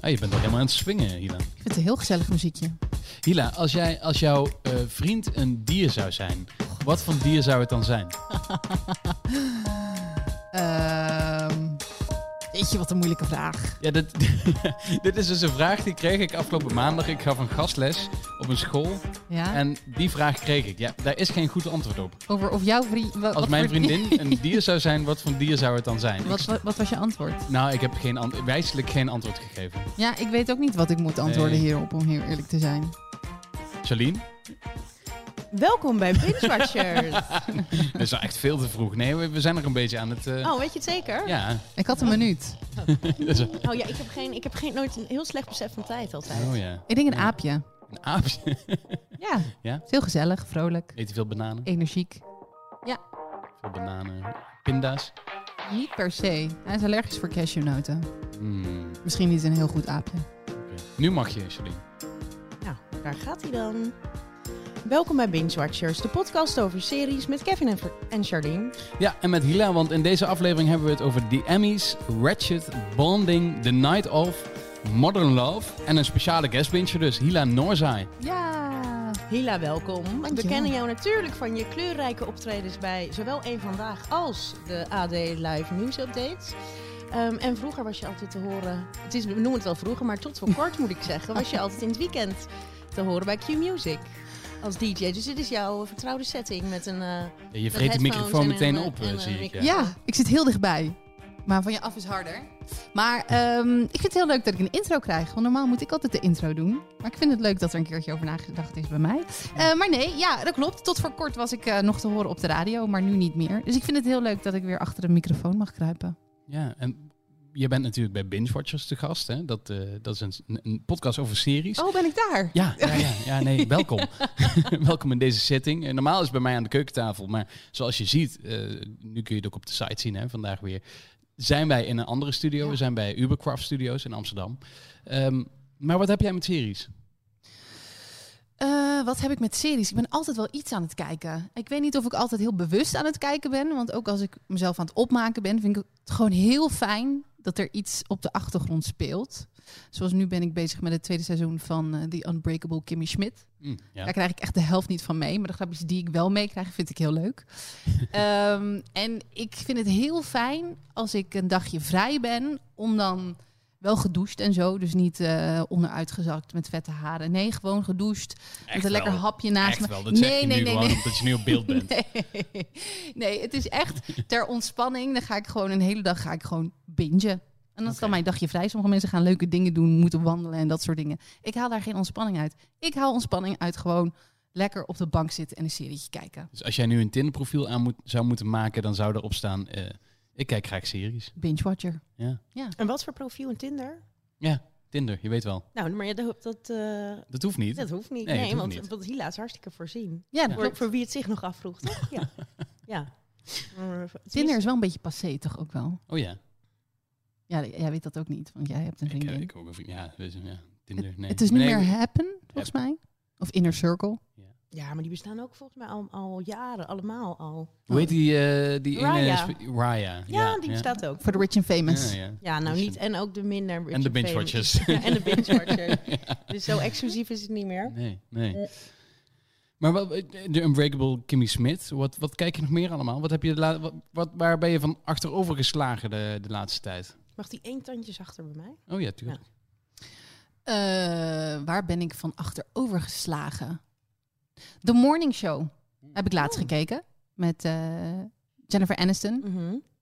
Oh, je bent al helemaal aan het swingen, Hila. Ik vind het een heel gezellig muziekje. Hila, als, jij, als jouw eh, vriend een dier zou zijn, wat voor dier zou het dan zijn? Ehm weet je wat een moeilijke vraag. Ja, dit, dit is dus een vraag die kreeg ik afgelopen maandag. Ik gaf een gastles op een school Ja? en die vraag kreeg ik. Ja, daar is geen goed antwoord op. Over of jouw vriend... wa- Als wat mijn voor vriendin een dier zou zijn, wat voor dier zou het dan zijn? Wat, Ik- wat, wat was je antwoord? nou, ik heb geen ant- wijselijk geen antwoord gegeven. Ja, ik weet ook niet wat ik moet antwoorden Nee. hierop, om heel eerlijk te zijn. Charlene? Welkom bij Binge Watchers. Dat is wel echt veel te vroeg. Nee, we, we zijn nog een beetje aan het... eh, Oh, weet je het zeker? Ja. Ik had een minuut. Dat is- Oh ja, ik heb, geen, ik heb geen, nooit een heel slecht besef van tijd altijd. oh ja. Ik denk een aapje. Een aapje. Ja. Ja? Het is heel gezellig, vrolijk, Eet hij veel bananen? energiek. Veel bananen. Pinda's? Niet per se. Hij is allergisch voor cashewnoten. Hmm. Misschien niet een heel goed aapje. oké. Nu mag je, Charlene. Nou, daar gaat hij dan. Welkom bij Binge Watchers, de podcast over series met Kevin en, en Charlene. Ja, en met Hila, want in deze aflevering hebben we het over The Emmys, Ratchet, Bonding, The Night Of, Modern Love en een speciale guestbintje dus, Hila Noorzai. Ja. Hila, welkom. We Dankjewel. kennen jou natuurlijk van je kleurrijke optredens bij zowel Eén Vandaag als de AD Live News Updates. Ehm, en vroeger was je altijd te horen, het is, we noemen het wel vroeger, maar tot voor kort moet ik zeggen, was je altijd in het weekend te horen bij Q Music. Als DJ, dus dit is jouw vertrouwde setting met een... eh, Ja, je vreet Met de headphones microfoon en meteen een, op, eh, eh, en zie een ik. ja. mic- Ja, ik zit heel dichtbij. Maar van je af is harder. Maar ehm, ik vind het heel leuk dat ik een intro krijg. Want normaal moet ik altijd de intro doen. Maar ik vind het leuk dat er een keertje over nagedacht is bij mij. Eh, maar nee, ja, dat klopt. Tot voor kort was ik eh, nog te horen op de radio, maar nu niet meer. Dus ik vind het heel leuk dat ik weer achter de microfoon mag kruipen. Ja, en je bent natuurlijk bij Binge Watchers te gast, hè? Dat, eh, dat is een, een podcast over series. Oh, ben ik daar? Ja, ja, ja, ja, nee, welkom. welkom in deze setting. Eh, Normaal is het bij mij aan de keukentafel, maar zoals je ziet, eh, nu kun je het ook op de site zien, hè, vandaag weer, zijn wij in een andere studio. Ja. We zijn bij Ubercraft Studios in Amsterdam. Ehm, maar wat heb jij met series? Eh, wat heb ik met series? Ik ben altijd wel iets aan het kijken. Ik weet niet of ik altijd heel bewust aan het kijken ben. Want ook als ik mezelf aan het opmaken ben, vind ik het gewoon heel fijn dat er iets op de achtergrond speelt. Zoals nu ben ik bezig met het tweede seizoen van eh, The Unbreakable Kimmy Schmidt. Hm, ja. Daar krijg ik echt de helft niet van mee. Maar de grapjes die ik wel meekrijg, vind ik heel leuk. Ehm, en ik vind het heel fijn als ik een dagje vrij ben. Om dan wel gedoucht en zo. Dus niet eh, onderuitgezakt met vette haren. Nee, gewoon gedoucht. met een lekker hapje naast Echt me. wel, dat zeg je nu gewoon omdat je nu op beeld bent. Nee. nee, het is echt ter ontspanning. Dan ga ik gewoon een hele dag ga ik gewoon bingen. En dat is Oké. dan mijn dagje vrij. Sommige mensen gaan leuke dingen doen, moeten wandelen en dat soort dingen. Ik haal daar geen ontspanning uit. Ik haal ontspanning uit gewoon lekker op de bank zitten en een serietje kijken. Dus als jij nu een Tinder-profiel aan moet, zou moeten maken, dan zou erop staan, eh, ik kijk graag series. Binge-watcher. Ja. En wat voor profiel in Tinder? Tinder, je weet wel. Nou, maar ja, dat, dat, eh, Dat hoeft niet. dat hoeft niet. Nee, Nee, dat hoeft want, niet. want Hila is hartstikke voorzien. Ja, dat Ja. Voor, klopt. voor wie het zich nog afvroeg, toch? Ja. ja. Maar het is- Tinder is wel een beetje passé toch ook wel? Oh ja, Ja, jij weet dat ook niet, want jij hebt een ik, vriendin. ik ook. een vriend. Ja, dus, ja, Tinder, nee. Het is niet Nee, meer happen, volgens mij. Of inner circle. Ja, maar die bestaan ook volgens mij al, al jaren, allemaal al. Hoe heet die, eh, die ene Oh. Raya. spe- Raya. Ja, die bestaat ook. Voor de rich and famous. Ja, ja. Ja, nou Dus- niet. En ook de minder. En de binge famous. watchers. Ja, en de binge watchers. Dus zo exclusief is het niet meer. Nee, nee. Maar wat, eh, de Unbreakable Kimmy Smith, wat, wat kijk je nog meer allemaal? Wat heb je de la- wat, wat, waar ben je van achterover geslagen de, de laatste tijd? Mag die één tandje zachter bij mij? Oh ja, tuurlijk. Eh, waar ben ik van achterover geslagen? The Morning Show heb ik laatst Oh. gekeken met eh, Jennifer Aniston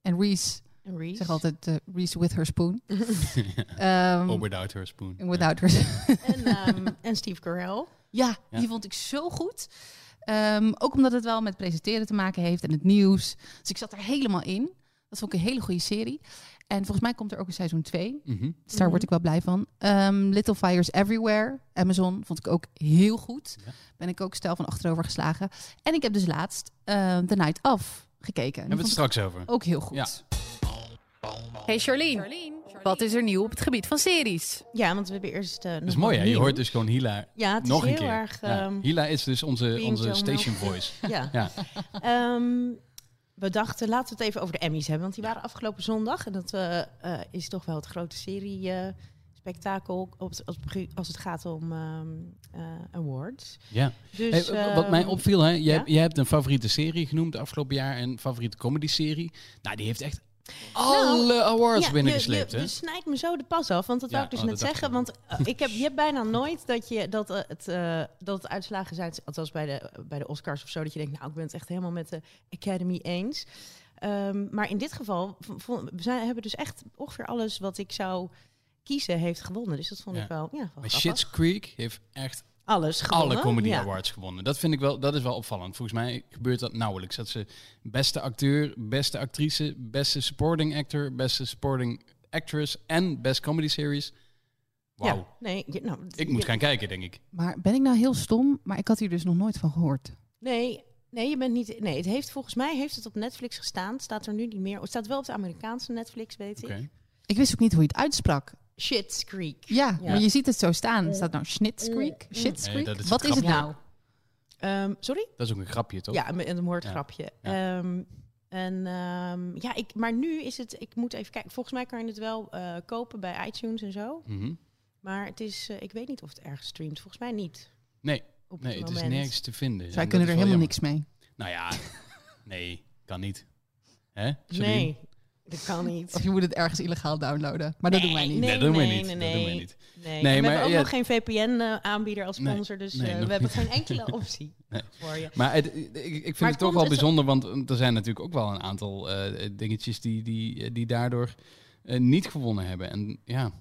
en Mm. Reese. En Ik Mhm. Reese. zeg altijd eh, Reese with her spoon. Oh, Ehm, without her spoon. without her spoon. en, ehm, en Steve Carell. Ja, Ja. die vond ik zo goed. Ehm, ook omdat het wel met presenteren te maken heeft en het nieuws. Dus ik zat er helemaal in. Dat vond ik een hele goede serie. En volgens mij komt er ook een seizoen 2. Ja. Mhm. Dus daar word ik wel blij van. Ehm, Little Fires Everywhere, Amazon, vond ik ook heel goed. Ja. Ben ik ook stijl van achterover geslagen. En ik heb dus laatst eh, The Night Of gekeken. En Hebben dat we het vond ik straks over. ook heel goed. Hey Charlene, wat is er nieuw op het gebied van series? Ja, want we hebben eerst... eh Dat is mooi hè, je hoort dus gewoon Hila Ja, het nog is een heel keer. erg... Ja. ehm, Hila is dus onze, being onze so station voice. Ja. Ja. Ehm, we dachten, laten we het even over de Emmys hebben. Want die waren afgelopen zondag. En dat eh, eh, is toch wel het grote serie... eh, spektakel op, als, als het gaat om ehm, eh, awards. Ja. Dus, Hey, w- wat mij ehm, opviel, hè, jij, ja? jij hebt een favoriete serie genoemd afgelopen jaar en favoriete comedy serie. Nou, die heeft echt alle awards Nou, ja, binnengesleept, je, dus- hè? je snijdt me zo de pas af, want dat Ja, wou ik dus oh, net dat dacht zeggen. ik Want eh, ik heb, je hebt bijna nooit dat, je, dat, eh, het, eh, dat het uitslagen zijn, althans bij de, bij de Oscars of zo, dat je denkt, nou, ik ben het echt helemaal met de Academy eens. Ehm, maar in dit geval, v- vond- we zijn, hebben dus echt ongeveer alles wat ik zou kiezen, heeft gewonnen. Dus dat vond Ja. ik wel, ja, wel Maar grappig. Shit's Creek heeft echt alles gewonnen. alle comedy ja. awards gewonnen. Dat vind ik wel, dat is wel opvallend. Volgens mij gebeurt dat nauwelijks. Dat ze beste acteur, beste actrice, beste supporting actor, beste supporting actress en best comedy series. Wauw. Ja, nee, je- nou, Ik moet je- gaan kijken, denk ik. Maar ben ik nou heel stom? Maar ik had hier dus nog nooit van gehoord. Nee, nee, je bent niet. Nee, het heeft volgens mij heeft het op Netflix gestaan. Het Staat er nu niet meer. Het staat wel op de Amerikaanse Netflix, weet ik. Oké. Ik wist ook niet hoe je het uitsprak. Shit's Creek. Ja, Ja. maar je ziet het zo staan. Er staat nou Schnitz Creek? Shit's Nee, Creek? dat is Wat het is het grapje. nou? Ehm, sorry? Dat is ook een grapje, toch? Ja, een, een woordgrapje. Oh. Ja. Ehm, en ehm, ja, ik, maar nu is het. Ik moet even kijken. Volgens mij kan je het wel eh, kopen bij iTunes en zo. Mhm. Maar het is. eh, ik weet niet of het ergens streamt. Volgens mij niet. Nee, Op Nee, het is moment. nergens te vinden. Zij En kunnen er dat helemaal is wel niks mee. jammer. Nou ja, nee, kan niet. Hè? Sorry. Nee, dat kan niet. Of je moet het ergens illegaal downloaden. Maar dat doen wij niet. Nee, dat doen we nee, niet. nee, dat doen we nee. niet. Nee, Nee, en we maar hebben ook ja, nog geen VPN-aanbieder eh, als Nee, sponsor, dus nee, eh, nog we hebben niet. geen enkele optie Nee. voor je. Maar het- ik, ik vind Maar het toch komt wel het- bijzonder, want eh, er zijn natuurlijk ook wel een aantal eh, dingetjes die, die, eh, die daardoor eh, niet gewonnen hebben. En ja,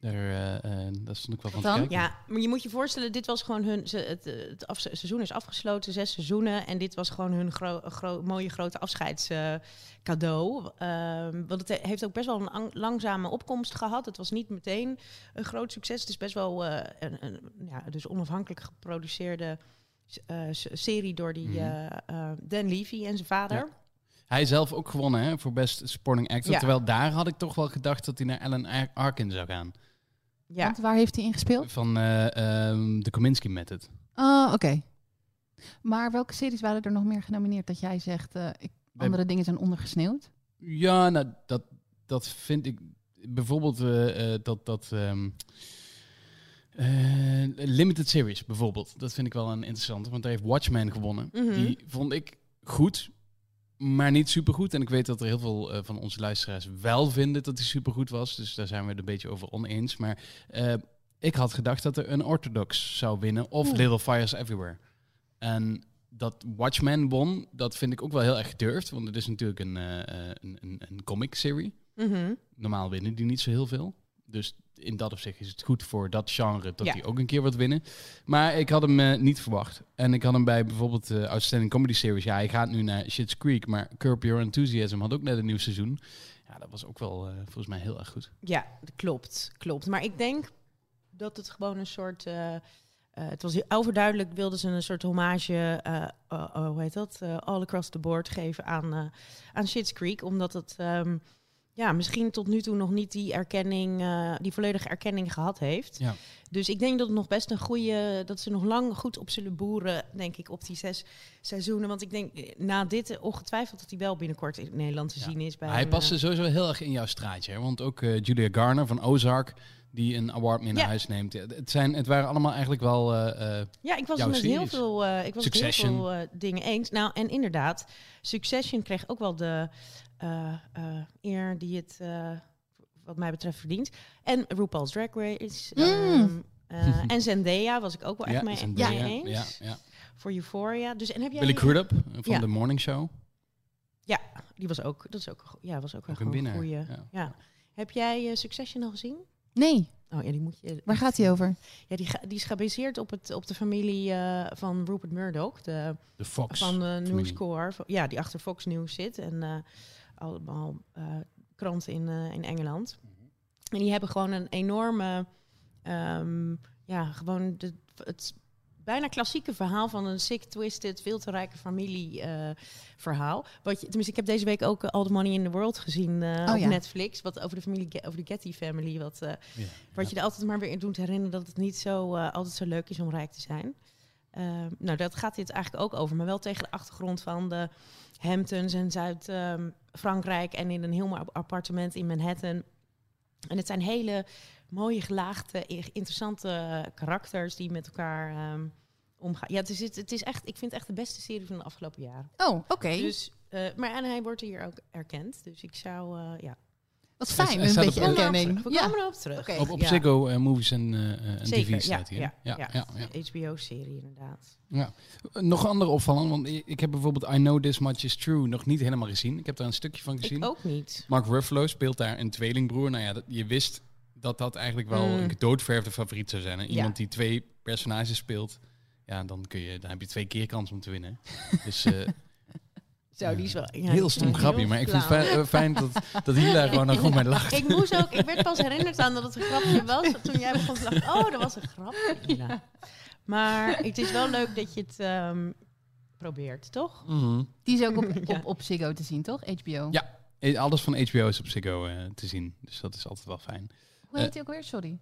daar, eh, eh, dat is natuurlijk wel van dan? te kijken. Ja, maar je moet je voorstellen, dit was gewoon hun. Ze, het, eh, het afse- seizoen is afgesloten, zes seizoenen. En dit was gewoon hun gro- gro- mooie grote afscheidscadeau. Ehm, want het he- heeft ook best wel een ang- langzame opkomst gehad. Het was niet meteen een groot succes. Het is best wel eh, een, een ja, dus onafhankelijk geproduceerde eh, s- serie door die Mhm. eh, eh, Dan Levy en zijn vader. Ja. Hij zelf ook gewonnen hè, voor Best Supporting Actor. Ja. Terwijl daar had ik toch wel gedacht dat hij naar Alan Ar- Arkin zou gaan. Ja. Want waar heeft hij ingespeeld? Van eh, ehm, de Kominsky Method. Oh, oké. Maar welke series waren er nog meer genomineerd dat jij zegt... eh, ik, Oh, andere dingen zijn ondergesneeuwd? Ja, nou, dat, dat vind ik. Bijvoorbeeld eh, eh, dat. dat ehm, eh, limited Series, bijvoorbeeld. Dat vind ik wel een interessante. Want daar heeft Watchmen gewonnen. Mhm. Die vond ik goed, maar niet supergoed. En ik weet dat er heel veel eh, van onze luisteraars wel vinden dat hij supergoed was. Dus daar zijn we het een beetje over oneens. Maar eh, ik had gedacht dat er een Orthodox zou winnen. Of Oeh. Little Fires Everywhere. En dat Watchmen won, dat vind ik ook wel heel erg gedurfd. Want het is natuurlijk een, eh, eh, een, een, een comic serie. Mhm. Normaal winnen die niet zo heel veel. Dus in dat opzicht is het goed voor dat genre dat Ja. die ook een keer wat winnen. Maar ik had hem eh, niet verwacht. En ik had hem bij bijvoorbeeld de Outstanding Comedy Series. Ja, hij gaat nu naar Shit's Creek. Maar Curb Your Enthusiasm had ook net een nieuw seizoen. Ja, dat was ook wel eh, volgens mij heel erg goed. Ja, dat klopt, klopt. Maar ik denk dat het gewoon een soort... eh, eh, het was heel overduidelijk, wilden ze een soort hommage, eh, eh, eh, hoe heet dat, eh, all across the board geven aan, eh aan Schitt's Creek. Omdat het ehm, ja, misschien tot nu toe nog niet die erkenning, eh, die volledige erkenning gehad heeft. Ja. Dus ik denk dat het nog best een goede, dat ze nog lang goed op zullen boeren, denk ik, op die zes seizoenen. Want ik denk eh, na dit eh, ongetwijfeld dat hij wel binnenkort in Nederland te Ja. zien is. Bij Maar hij een, eh, paste sowieso heel erg in jouw straatje. Hè? Want ook eh, Julia Garner van Ozark, die een award mee naar Ja. huis neemt. Ja, Het, zijn, het waren allemaal eigenlijk wel... eh, eh, Ja, ik was jouw het met heel series. veel, eh, ik was het heel Succession. veel eh, dingen eens. Nou, en inderdaad, Succession kreeg ook wel de eh, eh, eer die het, eh, wat mij betreft, verdient. En RuPaul's Drag Race. Mm. ehm, eh, en Zendaya was ik ook wel echt ja, mee, Zendaya, mee ja, eens. ja, ja. Voor Euphoria. Dus, en heb jij Billy Crudup van Ja. The Morning Show. Die was ook, dat is ook, een go- ja, was ook, Ook een, een gewoon winnaar. goeie. Ja. Ja. Heb jij eh, Succession al gezien? Nee, Oh ja, die moet je... waar gaat hij over? Ja, die, ga- die is gebaseerd op, het, op de familie eh, van Rupert Murdoch, de... De Fox. Van eh News familie. Corp. Ja, die achter Fox News zit. En eh, allemaal eh, kranten in, eh, in Engeland. En die hebben gewoon een enorme... ehm, ja, gewoon de, het bijna klassieke verhaal van een sick, twisted, veel te rijke familie eh, verhaal. Wat je, tenminste, ik heb deze week ook eh, All the Money in the World gezien eh, Oh op ja. Netflix. Wat over de, familie, Ge- over de Getty family. Wat, eh, Ja. wat je er altijd maar weer in doet herinneren dat het niet zo eh, altijd zo leuk is om rijk te zijn. Ehm, nou, dat gaat dit eigenlijk ook over, maar wel tegen de achtergrond van de Hamptons en ehm, Zuid-Frankrijk en in een heel mooi appartement in Manhattan. En het zijn hele mooie gelaagde, i- interessante karakters die met elkaar ehm, omgaan. Ja, het is, het, het is echt, ik vind het echt de beste serie van de afgelopen jaren. Oh, oké. Dus, eh, maar en hij wordt hier ook erkend. Dus ik zou, eh, ja. Wat Hij- fijn, hij een staat beetje op- erkenning. We Ja. komen erop terug. Oké. Op, op Ja. Ziggo eh, Movies en, eh, eh, en Zeker, TV staat ja, hier. hè? ja, ja. ja, ja. HBO-serie inderdaad. Eh, Nog andere opvallen, want i- ik heb bijvoorbeeld I Know This Much Is True nog niet helemaal gezien. Ik heb daar een stukje van gezien. Ik ook niet. Mark Ruffalo speelt daar een tweelingbroer. Nou ja, dat- je wist dat dat eigenlijk wel Mm. een doodverfde favoriet zou zijn. hè? Ja. Iemand die twee personages speelt, ja, dan, kun je, dan heb je twee keer kans om te winnen. Dus eh, Zo, die is wel... ja, die heel is stom wel grapje, heel maar ik vind het flauw. fijn, eh, fijn dat, dat Hila gewoon er gewoon bij lacht. Ik moest ook, ik werd pas herinnerd aan dat het een grapje was. Toen jij begon te lachen, oh, dat was een grapje. Ja. Maar het is wel leuk dat je het ehm, probeert, toch? Mhm. Die is ook op, Ja. op, op Ziggo te zien, toch? HBO. Ja. Eh, Alles van HBO is op Ziggo eh, te zien, dus dat is altijd wel fijn. Hoe heet die ook weer? Sorry.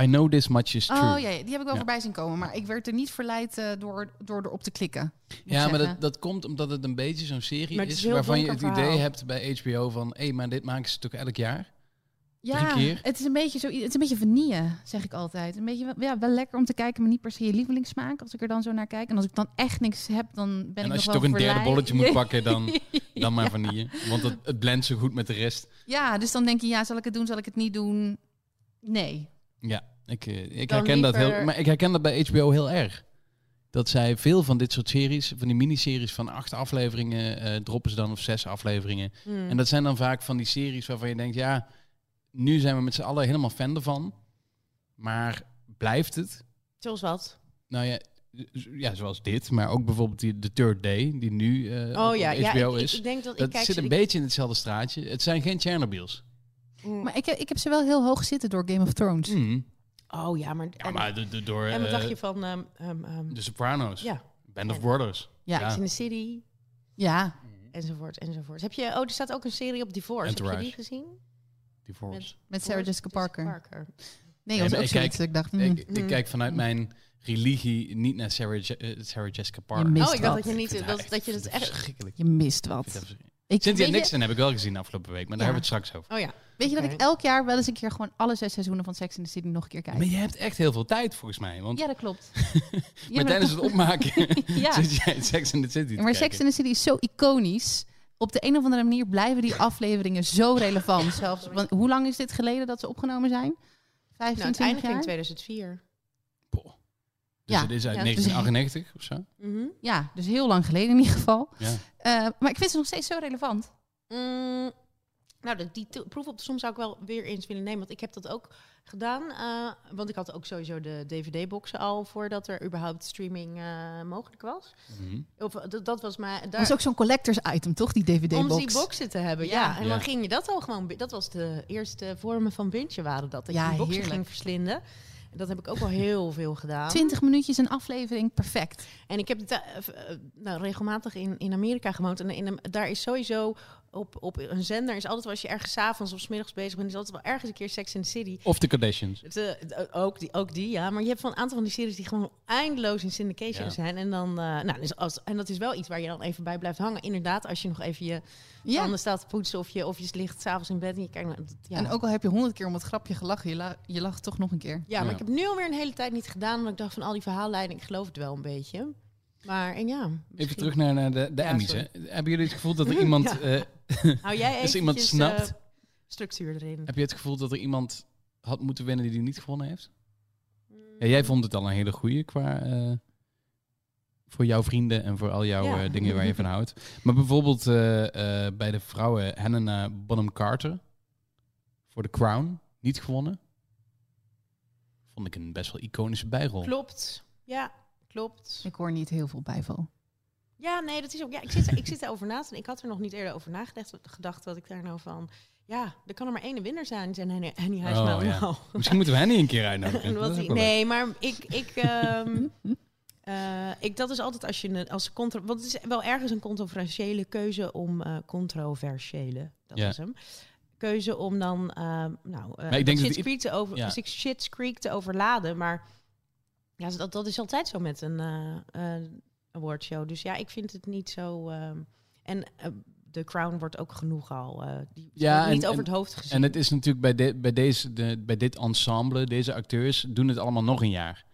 I Know This Much Is True. Oh ja, ja, die heb ik wel Ja. voorbij zien komen. Maar ik werd er niet verleid eh, door, door erop te klikken. moet ik Ja, maar zeggen. dat, dat komt omdat het een beetje zo'n serie Maar het is, is een heel waarvan je het donker idee verhaal. hebt bij HBO van... hé, maar dit maken ze toch elk jaar? ja, drie keer. Het is, een beetje zo, het is een beetje vanille, zeg ik altijd. Een beetje wel- ja, wel lekker om te kijken, maar niet per se je lievelingssmaak. Als ik er dan zo naar kijk. En als ik dan echt niks heb, dan ben en ik als nog je toch een wel derde verleid. bolletje moet pakken, dan, dan maar vanille. Want het, het blendt zo goed met de rest. Ja, dus dan denk je, ja, zal ik het doen, zal ik het niet doen? Nee. Ja, ik, eh, ik Dan herken dat heel... liever- Maar ik herken dat bij HBO heel erg. Dat zij veel van dit soort series, van die miniseries van acht afleveringen... eh, droppen ze dan, of zes afleveringen. Hmm. Mm. En dat zijn dan vaak van die series waarvan je denkt, ja, nu zijn we met z'n allen helemaal fan ervan. Maar blijft het? Zoals wat? Nou ja, z- ja zoals dit, maar ook bijvoorbeeld die, The Third Day, die nu eh, op- Oh ja, op ja HBO ik, is. ik denk dat, dat ik kijk... zit een ik- beetje in hetzelfde straatje. Het zijn geen Chernobyls. Mm. Maar ik, heb- ik heb ze wel heel hoog zitten door Game of Thrones. oh ja, maar... Ja, maar de- de- door en, en wat eh, dus, dacht je van... ehm, ehm, ehm, The Sopranos, ja, Band of Brothers. Ja. Sex in the City, Ja. enzovoort, enzovoort. Heb je... Oh, er staat ook een serie op Divorce. Heb je Entourage. die gezien? Divorce. Met Sarah Jessica Parker. Nee, Nee, dat was maar ook ik zoiets. dat Ik dacht, mm. Ik, ik Mm. kijk vanuit mijn religie niet naar Sarah, Je- eh, Sarah Jessica Parker. mist Oh, ik wat. dacht dat je Ik vind niet... haar Dat, dat je ik het vind haar echt... Verschrikkelijk. je mist Ik vind wat. haar verschrik- Ik, Cynthia weet je- Nixon heb ik wel gezien de afgelopen week, maar daar Ja. hebben we het straks over. Oh ja. Weet je Oké. dat ik elk jaar wel eens een keer gewoon alle zes seizoenen van Sex in the City nog een keer kijk? Maar je hebt echt heel veel tijd volgens mij, want Ja, dat klopt. Nou, Ja, maar dat tijdens het klopt. opmaken ja. zit jij in Sex in the City te Maar Sex kijken. in the City is zo iconisch. Op de een of andere manier blijven die afleveringen zo relevant. Zelfs, want hoe lang is dit geleden dat ze opgenomen zijn? 15, Nou, het 20 eindigde jaar? in 2004. Boah. Dus Ja. het is uit Ja, dus- 1998 of zo. Mhm. Ja, dus heel lang geleden in ieder geval. Ja. Eh, maar ik vind ze nog steeds zo relevant. Mm, nou, de- die to- proef op de som zou ik wel weer eens willen nemen. Want ik heb dat ook gedaan. eh, want ik had ook sowieso de DVD-boxen al voordat er überhaupt streaming eh, mogelijk was. Mhm. Of, eh, dat- dat was maar Dat daar. is ook zo'n collectors item, toch? Die om DVD-box. die boxen te hebben, ja. Ja. En Ja. dan ging je dat al gewoon... bi- Dat was de eerste vormen van bintje waren dat. Dat Ja, je die boxen heerlijk. ging verslinden. En dat heb ik ook al heel veel gedaan. 20 minuutjes een aflevering, perfect. En ik heb ta- eh, eh, nou, regelmatig in, in Amerika gewoond. En in, daar is sowieso op, op een zender... is altijd als je ergens 's avonds of 's middags bezig bent... is altijd wel ergens een keer Sex in the City. Of de Kardashians. Het, eh, d- ook, die, ook die, ja. Maar je hebt van een aantal van die series die gewoon eindeloos in syndication Ja. zijn. En, dan, eh, nou, dus als, en dat is wel iets waar je dan even bij blijft hangen. Inderdaad, als je nog even je Ja. tanden staat te poetsen... of je, of je ligt s'avonds in bed en je kijkt naar... dat- Ja, En ook al heb je honderd keer om het grapje gelachen, je, la- je lacht toch nog een keer. ja maar Ja. ik heb nu alweer een hele tijd niet gedaan... omdat ik dacht van al die verhaallijnen, ik geloof het wel een beetje. Maar en ja, Even misschien- terug naar, naar de, de Ja, Emmys. Hè. sorry. Hebben jullie het gevoel dat er iemand... Ja. eh, Hou jij even Als iemand snapt- structuur erin. heb je het gevoel dat er iemand had moeten winnen die die niet gewonnen heeft? Ja, Mm, jij vond het al een hele goeie qua... eh, voor jouw vrienden en voor al jouw Ja. eh, dingen waar je van houdt. Maar bijvoorbeeld eh, eh, bij de vrouwen Helena Bonham Carter. Voor The Crown. Niet gewonnen. Vond ik een best wel iconische bijrol. Klopt. Ja, klopt. Ik hoor niet heel veel bijval. Ja, nee, dat is ook. Ja, ik zit, ik zit erover na te denken. Ik had er nog niet eerder over nagedacht. Gedacht dat ik daar nou van. Ja, er kan er maar één winnaar zijn, zijn Henny, Henny Huisman. Oh, ja. nou. Misschien moeten we hen niet een keer uitnodigen. En wat Dat is die- ook wel leuk. nee, maar ik. ik ehm, eh, ik, dat is altijd als je een- als contra, want het is wel ergens een controversiële keuze om eh, controversiële, dat Ja. is hem. Keuze om dan, ehm nou, eh ik denk dat Shit's i- Creek te over, ja. Shit's Creek te overladen, maar ja, dat, dat is altijd zo met een eh eh, awardshow. Dus ja, ik vind het niet zo. ehm, en eh, de crown wordt ook genoeg al eh, die Ja, wordt niet en- over en- het hoofd gezien. En het is natuurlijk bij, de- bij, deze, de, bij dit ensemble, deze acteurs, doen het allemaal nog een jaar.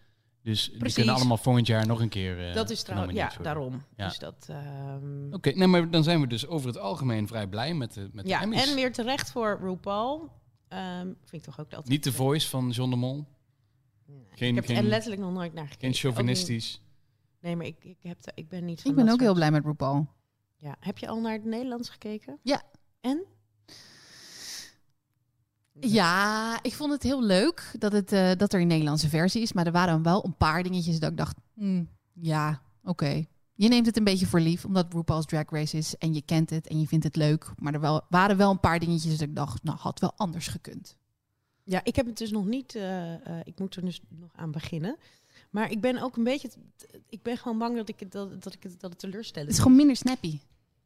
Dus die Precies. kunnen allemaal volgend jaar nog een keer. eh, dat is trouwens, ja, genomineerd worden. daarom. Ja. Dus dat, ehm, Oké, nee, maar dan zijn we dus over het algemeen vrij blij met de, met de ja, Emmys. en weer terecht voor RuPaul. Ehm, vind ik toch ook dat. Niet de voice van John de Mol. Nee, geen- ik heb er geen- letterlijk nog nooit naar gekeken. Geen Ook niet- chauvinistisch. Nee, maar ik, ik, heb, de- ik ben niet van Ik ben dat ook heel soort- blij met RuPaul. Ja. Heb je al naar het Nederlands gekeken? Ja. En? Ja, ik vond het heel leuk dat, het, eh, dat er een Nederlandse versie is. Maar er waren wel een paar dingetjes dat ik dacht, hmm, ja, oké. Je neemt het een beetje voor lief, omdat RuPaul's Drag Race is. En je kent het en je vindt het leuk. Maar er wel, waren wel een paar dingetjes dat ik dacht, nou, had wel anders gekund. Ja, ik heb het dus nog niet. eh, eh, ik moet er dus nog aan beginnen. Maar ik ben ook een beetje. t- t- Ik ben gewoon bang dat ik het, dat, dat ik het, dat het Het teleurstellend is gewoon minder snappy.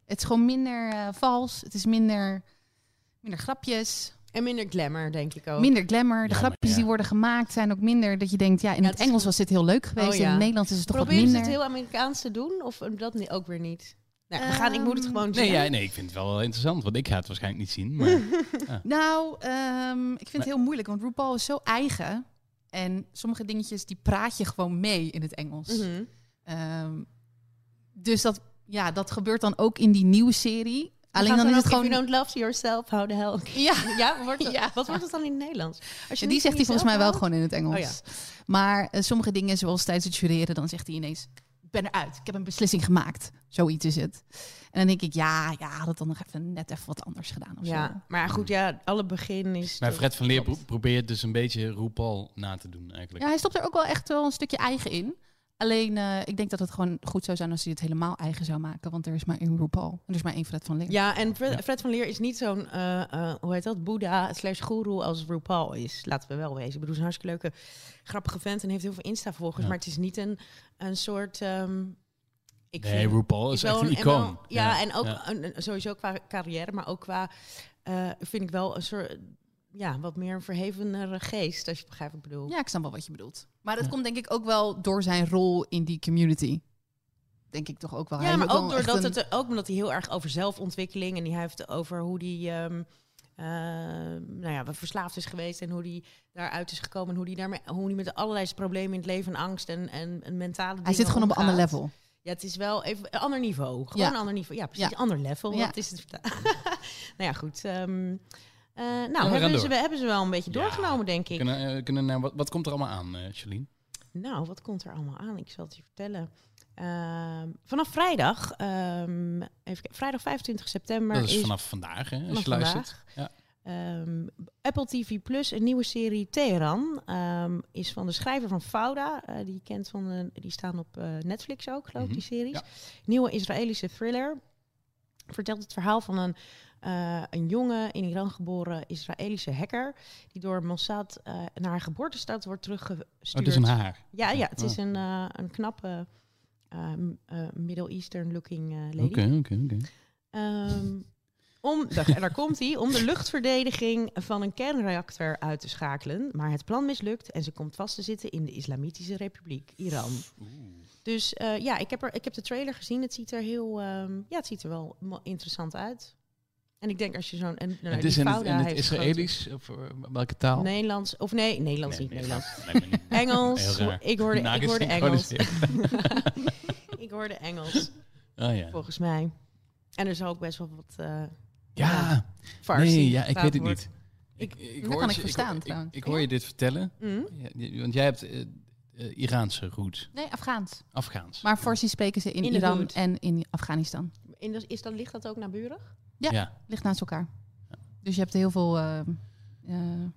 Het is gewoon minder eh, vals. Het is minder, minder grapjes. En minder glamour, denk ik ook. Minder glamour. De Jammer, grapjes ja. die worden gemaakt zijn ook minder. Dat je denkt, ja, in Ja, het het is- Engels was dit heel leuk geweest. Oh, ja. In het Nederlands is het toch wat Probeer ze minder. het heel Amerikaans te doen? Of eh, dat ni- ook weer niet? Nou, we gaan, ik moet het Ehm, gewoon Nee, zien. ja, nee, ik vind het wel interessant, want ik ga het waarschijnlijk niet zien. Maar Nou, ehm, ik vind het heel moeilijk, want RuPaul is zo eigen. En sommige dingetjes die praat je gewoon mee in het Engels. Mhm. Ehm, dus dat, ja, dat gebeurt dan ook in die nieuwe serie. Alleen Gaat dan is ook, het gewoon. If you don't love yourself, how the hell... Ja, Ja, wordt het- Ja. wat wordt het dan in het Nederlands? Als die niet zegt hij van volgens mij wel jezelf gewoon in het Engels. Oh Maar eh, sommige dingen, zoals tijdens het jureren, dan zegt hij ineens: Ik ben eruit, ik heb een beslissing gemaakt. Zoiets is het. En dan denk ik: Ja, ja, had het dan nog even net even wat anders gedaan. Of houdt? Ja, zo. maar goed, ja, alle begin is... maar toch- Fred van Leer pro- Klopt. probeert dus een beetje RuPaul na te doen eigenlijk. Ja, hij stopt er ook wel echt wel een stukje eigen in. Alleen, eh, ik denk dat het gewoon goed zou zijn als hij het helemaal eigen zou maken. Want er is maar één RuPaul. En er is maar één Fred van Leer. Ja, en Fred, Ja. Fred van Leer is niet zo'n, eh, eh, hoe heet dat, boeddha slash guru als RuPaul is. Laten we wel wezen. Ik bedoel, hij is een hartstikke leuke, grappige vent en heeft heel veel Insta-volgers. Ja. Maar het is niet een, een soort... ehm, ik nee, vind- RuPaul is wel echt een en wel- icoon. ja, en ook ja. een- een- sowieso qua carrière, maar ook qua, eh, vind ik wel een soort, ja, wat meer een verhevenere geest, als je begrijpt wat ik bedoel. Ja, ik snap wel wat je bedoelt. Maar dat Ja. komt denk ik ook wel door zijn rol in die community. Denk ik toch ook wel. Hij Ja, is maar wel ook, echt doordat een- het, ook omdat hij heel erg over zelfontwikkeling en die hij heeft over hoe hij ehm, eh, nou ja, verslaafd is geweest en hoe hij daaruit is gekomen en hoe hij daarmee, hoe die met allerlei problemen in het leven en angst en, en, en mentale Hij zit gewoon op een ander level. Ja, het is wel even een ander niveau. Gewoon Ja. een ander niveau. Ja, precies. Ander level. Ja. Dat is het. nou ja, goed. ehm, eh, nou, gaan hebben ze, door. we hebben ze wel een beetje Ja. doorgenomen, denk ik. Kunnen, eh, kunnen, naar- wat, wat komt er allemaal aan, eh Charlene? Nou, wat komt er allemaal aan? Ik zal het je vertellen. Ehm, vanaf vrijdag, ehm, even kijken, vrijdag 25 september. dat is, vanaf vandaag, hè, als vanaf je luistert. vandaag. Ja. Ehm, Apple TV Plus, een nieuwe serie Teheran, ehm, is van de schrijver van Fouda. eh, die je kent van, de, die staan op eh, Netflix ook, geloof ik, die series. Mhm, ja. Nieuwe Israëlische thriller. Vertelt het verhaal van een, eh, een jonge, in Iran geboren Israëlische hacker. Die door Mossad eh, naar haar geboortestad wordt teruggestuurd. Oh, dus een haar. Ja, ja het Ah. is een, eh, een knappe eh, m- eh, Middle Eastern looking eh, lady. Oké, oké, oké. Ehm, om, daar, en daar komt hij, om de luchtverdediging van een kernreactor uit te schakelen. Maar het plan mislukt en ze komt vast te zitten in de Islamitische Republiek Iran. Dus eh, ja, ik heb, er, ik heb de trailer gezien. Het ziet er heel, ehm, ja, het ziet er wel mo- interessant uit. En ik denk als je zo'n... En, nou, Het die is in het, Fouda in het heeft grote- Israëlisch, of eh, welke taal? Nederlands, of nee, Nederlands Nee, niet Nederlands. dat lijkt me niet. Engels, Heel raar. ik hoorde, ik hoorde Engels. Nagesynchroniseerd. ik hoorde Engels, Oh ja. volgens mij. En er zal ook best wel wat eh Ja, Farsi nee, ja, ik gepraat weet het worden. niet. Ik- dat kan het ik je- verstaan, ik, trouwens. Ik, hoor je dit vertellen, Mm. Ja, die- want jij hebt eh, eh, Iraanse roet, Nee, Afghaans. Afghaans. Maar Farsi spreken ze in, In de Iran hood. en in Afghanistan. En dus is dan, ligt dat ook naburig? ja. Ligt naast elkaar. Dus je hebt heel veel... eh, eh,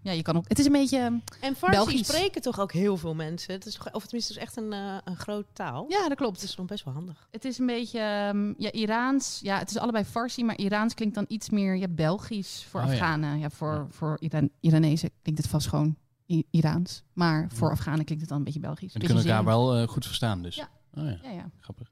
ja, je kan ook... Het is een beetje... eh, En Farsi Belgisch. spreken toch ook heel veel mensen? Het is, toch- of tenminste, het is echt een, eh, een grote taal. Ja, dat Het klopt. is nog best wel handig. Het is een beetje ehm, ja, Iraans. Ja, het is allebei Farsi, maar Iraans klinkt dan iets meer ja, Belgisch voor Oh, ja. Afghanen. Ja, voor, Ja. voor Iran Iranezen klinkt het vast gewoon I- Iraans. Maar voor Ja. Afghanen klinkt het dan een beetje Belgisch. En Beetje kunnen elkaar zin. wel eh, goed verstaan dus. Dus Ja. Oh ja, Ja, ja. grappig.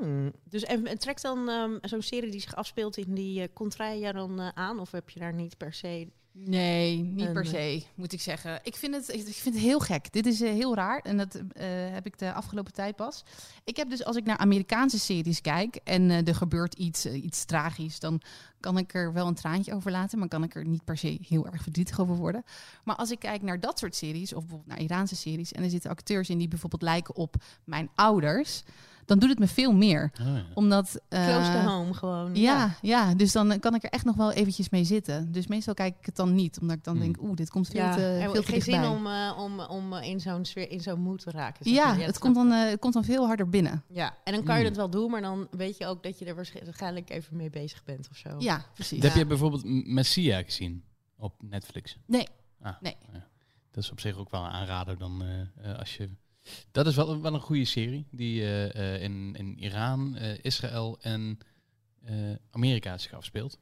Hmm. Dus en, en trekt dan ehm, zo'n serie die zich afspeelt in die eh contraien dan eh, aan? Of heb je daar niet per se... Nee, niet En, per eh, se, moet ik zeggen. Ik vind het, ik vind het heel gek. Dit is eh, heel raar en dat eh, heb ik de afgelopen tijd pas. Ik heb dus, als ik naar Amerikaanse series kijk en eh, er gebeurt iets, eh, iets tragisch, dan kan ik er wel een traantje over laten, maar kan ik er niet per se heel erg verdrietig over worden. Maar als ik kijk naar dat soort series, of bijvoorbeeld naar Iraanse series, en er zitten acteurs in die bijvoorbeeld lijken op mijn ouders, dan doet het me veel meer. Oh, ja. Omdat. eh, Close to home gewoon. ja, ja, dus dan eh, kan ik er echt nog wel eventjes mee zitten. Dus meestal kijk ik het dan niet, omdat ik dan Hmm. denk, oeh, dit komt veel Ja, te, en eh, veel te geen zin dichtbij. om, eh, om, om eh, in zo'n sfeer, in zo'n mood te raken. zeg Ja, maar. het dat komt, snap dan, eh, het komt dan veel harder binnen. ik. Ja, en dan kan je Mm. dat wel doen, maar dan weet je ook dat je er waarschijnlijk even mee bezig bent of zo. Ja, precies. Heb je bijvoorbeeld M- Messia gezien op Netflix? Nee. Ah, Nee. ja. Dat is op zich ook wel een aanrader dan eh, eh, als je... Dat is wel, wel een goede serie die eh, eh, in, in Iran, eh, Israël en eh, Amerika zich afspeelt.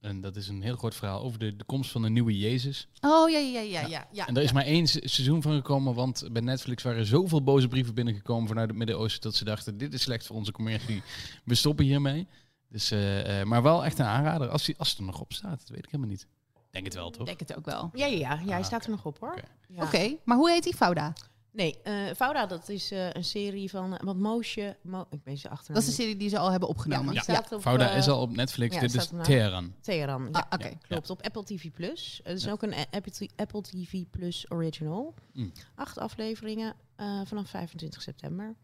En dat is een heel kort verhaal over de, de komst van de nieuwe Jezus. Oh, ja, ja, ja, ja, ja. ja en er is maar één se- seizoen van gekomen, want bij Netflix waren zoveel boze brieven binnengekomen vanuit het Midden-Oosten dat ze dachten, dit is slecht voor onze commercie, we stoppen hiermee. Dus, eh, eh, maar wel echt een aanrader, als, die, als het er nog op staat, dat weet ik helemaal niet. Denk het wel, Ik toch? denk het ook wel. Oké, Ja, ja, ja, hij Ah, staat er nog op hoor. Oké. Ja. maar hoe heet die Fouda? Nee, eh Fouda, dat is eh, een serie van. eh, want Moosje. Mo- ik ben ze achternaam. Dat is de serie die ze al hebben opgenomen. Ja, Ja, die staat op, Fouda eh, is al op Netflix. ja, Dit is staat ernaar. Teheran. Teheran. Ja, Ah, Oké, klopt. Op Apple TV Plus. Het is ook een a- Apple, T- Apple TV Plus Original. Mm. Acht afleveringen eh, vanaf 25 september.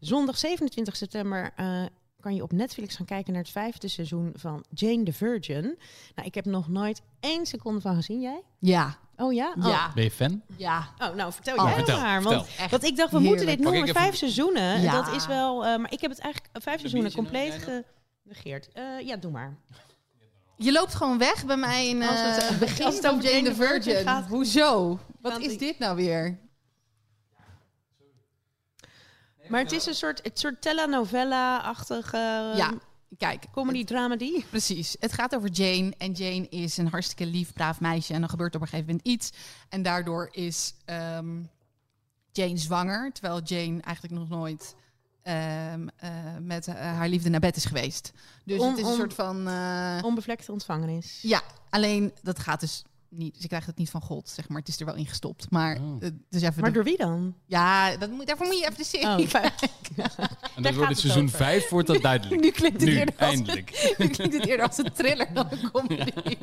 Zondag 27 september. eh, kan je op Netflix gaan kijken naar het vijfde seizoen van Jane the Virgin. Nou, ik heb nog nooit één seconde van gezien. Jij? ja, Oh ja? Oh. ja, Ben je fan? ja. Oh, nou vertel Oh, jij vertel, maar. vertel. Want, want ik dacht, we moeten dit heerlijk. nog Pak ik maar even- vijf seizoenen. Ja. Dat is wel... eh, maar ik heb het eigenlijk eh, vijf Een seizoenen biertje nog, jij compleet genegeerd. Eh, ja, doe maar. Je loopt gewoon weg bij mij in Als het, eh, eh, begin als het van over Jane the Jane the Virgin Virgin. gaat. Hoezo? Wat Want is ik- dit nou weer? Maar het is een soort, het soort telenovela-achtige eh, ja, kijk. comedy-dramedy. Precies. Het gaat over Jane. En Jane is een hartstikke lief, braaf meisje. En dan gebeurt op een gegeven moment iets. En daardoor is ehm, Jane zwanger. Terwijl Jane eigenlijk nog nooit ehm, eh, met eh, haar liefde naar bed is geweest. Dus Om- het is een om- soort van. eh, Onbevlekte ontvangenis. ja, alleen dat gaat dus niet. Ze krijgt het niet van God, zeg maar. Het is er wel in gestopt. Maar Oh. eh, dus even. Maar de- door wie dan? ja, dat moet, daarvoor moet je even de serie. Oh, fijn. En Daar dan wordt gaat het het seizoen over. 5 wordt dat duidelijk. Nu klinkt het nu, eerder als- eindelijk. Ik klinkt het eerder als een thriller dan een comedy.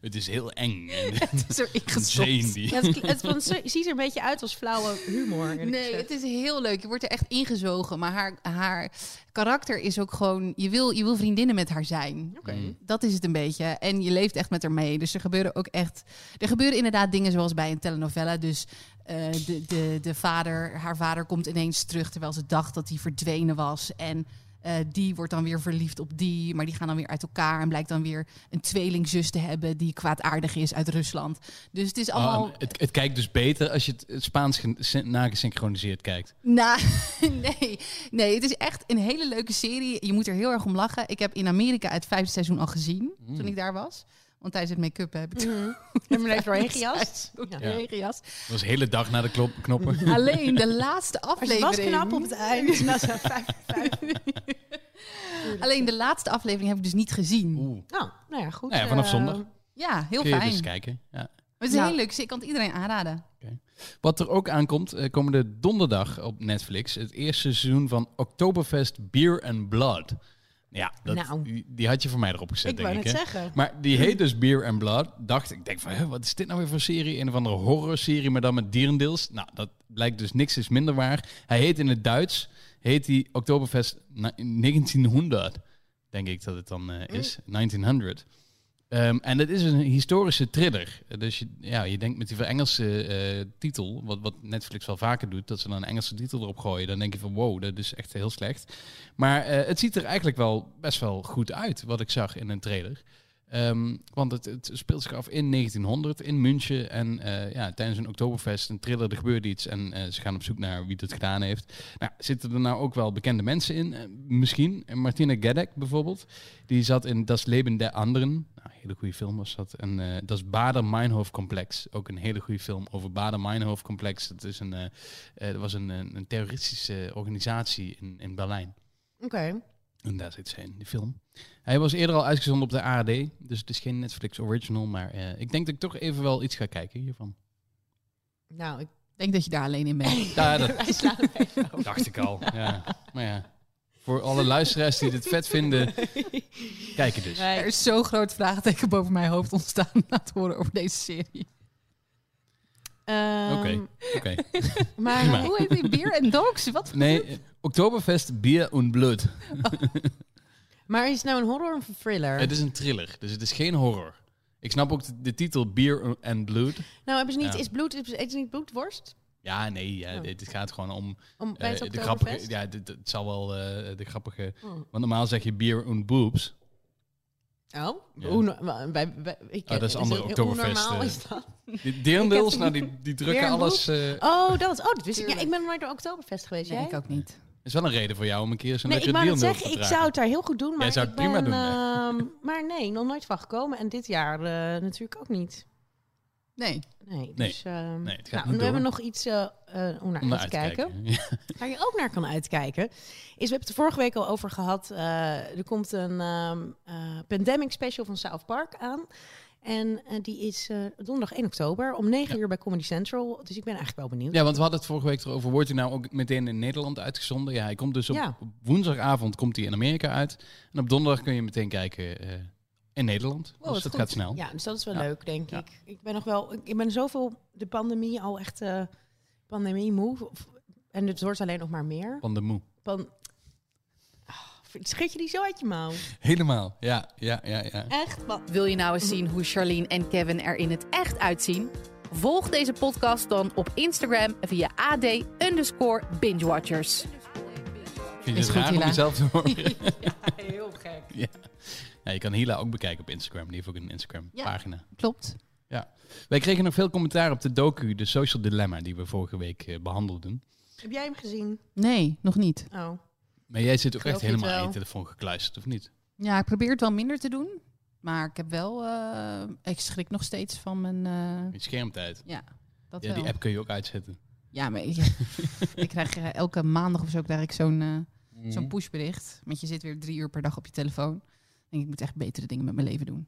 het is heel eng. En Het is er ingestopt. Jane die. Ja, het, kli- het- want ze- ziet er een beetje uit als flauwe humor. eerlijk Nee, gezegd. het is heel leuk. Je wordt er echt ingezogen. Maar haar, haar karakter is ook gewoon... Je wil, je wil vriendinnen met haar zijn. Oké. Mm. Dat is het een beetje. En je leeft echt met haar mee. Dus er gebeuren ook echt... Er gebeuren inderdaad dingen zoals bij een telenovela. Dus eh, de, de, de vader, haar vader komt ineens terug... terwijl ze dacht dat hij verdwenen was. En eh, die wordt dan weer verliefd op die. Maar die gaan dan weer uit elkaar. En blijkt dan weer een tweelingzus te hebben... die kwaadaardig is uit Rusland. Dus het is allemaal... Oh, en het, het kijkt dus beter als je het, het Spaans gen- syn- nagesynchroniseerd kijkt. Nou, nee. Nee, het is echt een hele leuke serie. Je moet er heel erg om lachen. Ik heb in Amerika het vijfde seizoen al gezien, Mm. toen ik daar was. Want tijdens het make-up heb ik Mhm. En meneer heeft doorheen gejast. Ja. een regenjas. Dat was de hele dag naar de klop, knoppen. Alleen de laatste Maar ze aflevering... was knap op het eind. Nou, ze had vijf, vijf. Alleen de laatste aflevering heb ik dus niet gezien. Oeh. Nou, nou ja, goed. Nou ja, vanaf eh, zondag. Ja, heel Kun je fijn. dus kijken. Ja. Maar het is een Ja. heel leuk. Ik kan het iedereen aanraden. Wat er ook aankomt, eh, komende donderdag op Netflix. Het eerste seizoen van Oktoberfest Beer and Blood. Ja, dat, Nou. die, die had je voor mij erop gezet, Ik denk wou ik. net hè? zeggen. Maar die heet dus Beer and Blood. Dacht ik, denk van, hè, wat is dit nou weer voor serie? Een of andere horrorserie, maar dan met dierendeels. Nou, dat blijkt dus niks is minder waar. Hij heet in het Duits, heet die Oktoberfest na- 1900. Denk ik dat het dan eh, is, 1900. Ehm, en het is een historische thriller. Eh, Dus je, ja, je denkt met die Engelse eh, titel, wat, wat Netflix wel vaker doet, dat ze dan een Engelse titel erop gooien. Dan denk je van wow, dat is echt heel slecht. Maar eh, het ziet er eigenlijk wel best wel goed uit, wat ik zag in een trailer. Ehm, want het, het speelt zich af in 1900 in München. En eh, ja, tijdens een Oktoberfest, een thriller, er gebeurt iets. En eh, ze gaan op zoek naar wie dat gedaan heeft. Nou, zitten er nou ook wel bekende mensen in? Eh, misschien. Eh, Martina Geddek bijvoorbeeld. Die zat in Das Leben der Anderen. Nou, een hele goede film was dat. En eh Das Bader-Meinhof-complex. Ook een hele goede film over Bader-Meinhof-complex. Dat is een, eh, eh, dat was een, een, een terroristische organisatie in, in Berlijn. Oké. En daar zit zijn, de film. Hij was eerder al uitgezonden op de ARD, dus het is geen Netflix original, maar eh, ik denk dat ik toch even wel iets ga kijken hiervan. Nou, ik denk dat je daar alleen in bent. Ja, dat wij slaan hem even over. dacht ik al. Ja. Maar ja, voor alle luisteraars die dit vet vinden, kijken dus. Er Nee, is zo'n groot vraagteken boven mijn hoofd ontstaan na het horen over deze serie. ehm, Oké. Oké. Maar Prima. Hoe heet die Beer en Dogs? Wat? Nee, eh, Oktoberfest, bier en bloed. Maar is het nou een horror of een thriller? Het is een thriller, dus het is geen horror. Ik snap ook de, de titel Beer and Blood. nou, hebben ze niet, Ja. is bloed, is, eten ze niet bloedworst? Ja, nee, ja, Oh. dit het gaat gewoon om Om, bij het eh, de Oktoberfest? grappige. Ja, dit, het zal wel eh, de grappige. Oh. Want normaal zeg je Beer and Boobs. Oh, Ja. Oh, hoe no- wa- bij, bij, ik, dat is andere het- Oktoberfest, Hoe normaal eh. is dat? Die deerndeels, Ik heb- nou, die, die drukken Beer and alles. eh, Het Oh, dat. Oh, dat wist ik. Ja, Tuurlijk. ik ben nog nooit naar Oktoberfest geweest. Nee, jij? ik ook niet. is wel een reden voor jou om een keer zo'n Nee, ik lekkere wou net deerndeels te zeggen, ik dragen. zou het daar heel goed doen. Maar zou het ik prima ben, doen, ehm, maar nee, nog nooit van gekomen. En dit jaar eh, natuurlijk ook niet. Nee. Nee, Nee. dus, ehm, Nee, het gaat nou, niet we hebben door. nog iets eh, eh, om naar Om uit naar te uit kijken. Waar je ook naar kan uitkijken, is we hebben het er vorige week al over gehad. eh, er komt een ehm, eh, pandemic special van South Park aan. En eh, die is eh, donderdag 1 oktober om 9 Ja. uur bij Comedy Central. Dus ik ben eigenlijk wel benieuwd. Ja, want we hadden het vorige week erover. Wordt hij nou ook meteen in Nederland uitgezonden? Ja, hij komt dus op Ja. op woensdagavond komt hij in Amerika uit. En op donderdag kun je meteen kijken eh, in Nederland. dus Wow, Oh, wat dat goed. gaat snel. Ja, dus dat is wel Ja. leuk, denk Ja. ik. Ik ben nog wel, ik- ik ben zoveel de pandemie al echt eh, pandemie moe. Of- En het wordt alleen nog maar meer. Van de moe. Pan Ah, schud je die zo uit je mouw? Helemaal. Ja, ja, ja, ja. Echt? Wat? Wil je nou eens zien hoe Charlene en Kevin er in het echt uitzien? Volg deze podcast dan op Instagram via ad underscore bingewatchers. Vind je Is het goed, raar om Hila. jezelf te horen? Heel gek. ja. Ja, je kan Hila ook bekijken op Instagram. Die heeft ook een Instagram Ja. pagina. Klopt. Wij kregen nog veel commentaar op de docu, de Social Dilemma, die we vorige week eh, behandelden. Heb jij hem gezien? Nee, nog niet. Oh. Maar jij zit ook Geloof echt je het helemaal aan je wel? telefoon gekluisterd, of niet? Ja, ik probeer het wel minder te doen. Maar ik heb wel... eh, ik schrik nog steeds van mijn... eh, Je schermtijd. ja, dat Ja, die wel. app kun je ook uitzetten. Ja, maar ja. ik krijg eh, elke maandag of zo krijg ik zo'n eh, Mm. Mhm. zo'n pushbericht. Want je zit weer drie uur per dag op je telefoon. Ik denk, ik moet echt betere dingen met mijn leven doen.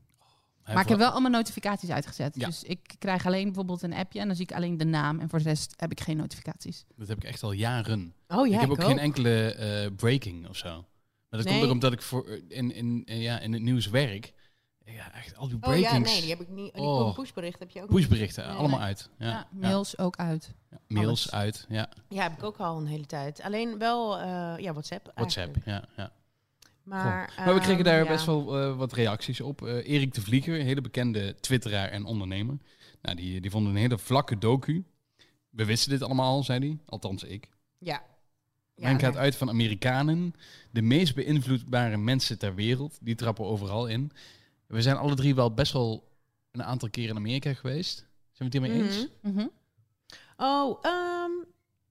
Maar ik heb wel allemaal notificaties uitgezet. Ja. Dus ik krijg alleen bijvoorbeeld een appje en dan zie ik alleen de naam. En voor de rest heb ik geen notificaties. Dat heb ik echt al jaren. Oh ja, ik heb ook, ook. geen enkele eh, breaking of zo. Maar dat Nee. komt ook omdat ik voor, eh, in, in, in- ja, in het nieuws werk. Ja, echt al die Oh breakings, ja, nee, die heb ik niet. Die Oh. pushbericht heb je ook. pushberichten, Nee, allemaal nee. uit. Ja, Ja, ja, mails ook uit. ja, mails alles. uit, ja, Ja, heb ik ook al een hele tijd. Alleen wel eh, ja, WhatsApp. WhatsApp. eigenlijk. Ja, ja. Maar, Maar we kregen ehm, daar ja. best wel eh, wat reacties op. Eh, Erik de Vlieger, een hele bekende twitteraar en ondernemer. Nou, die, die vond een hele vlakke docu. We wisten dit allemaal, zei hij. Althans, ik. Ja. Ja, Men gaat daar- uit van Amerikanen, de meest beïnvloedbare mensen ter wereld. Die trappen overal in. We zijn alle drie wel best wel een aantal keer in Amerika geweest. Zijn we het hiermee Mhm. eens? Mhm. Oh, ehm,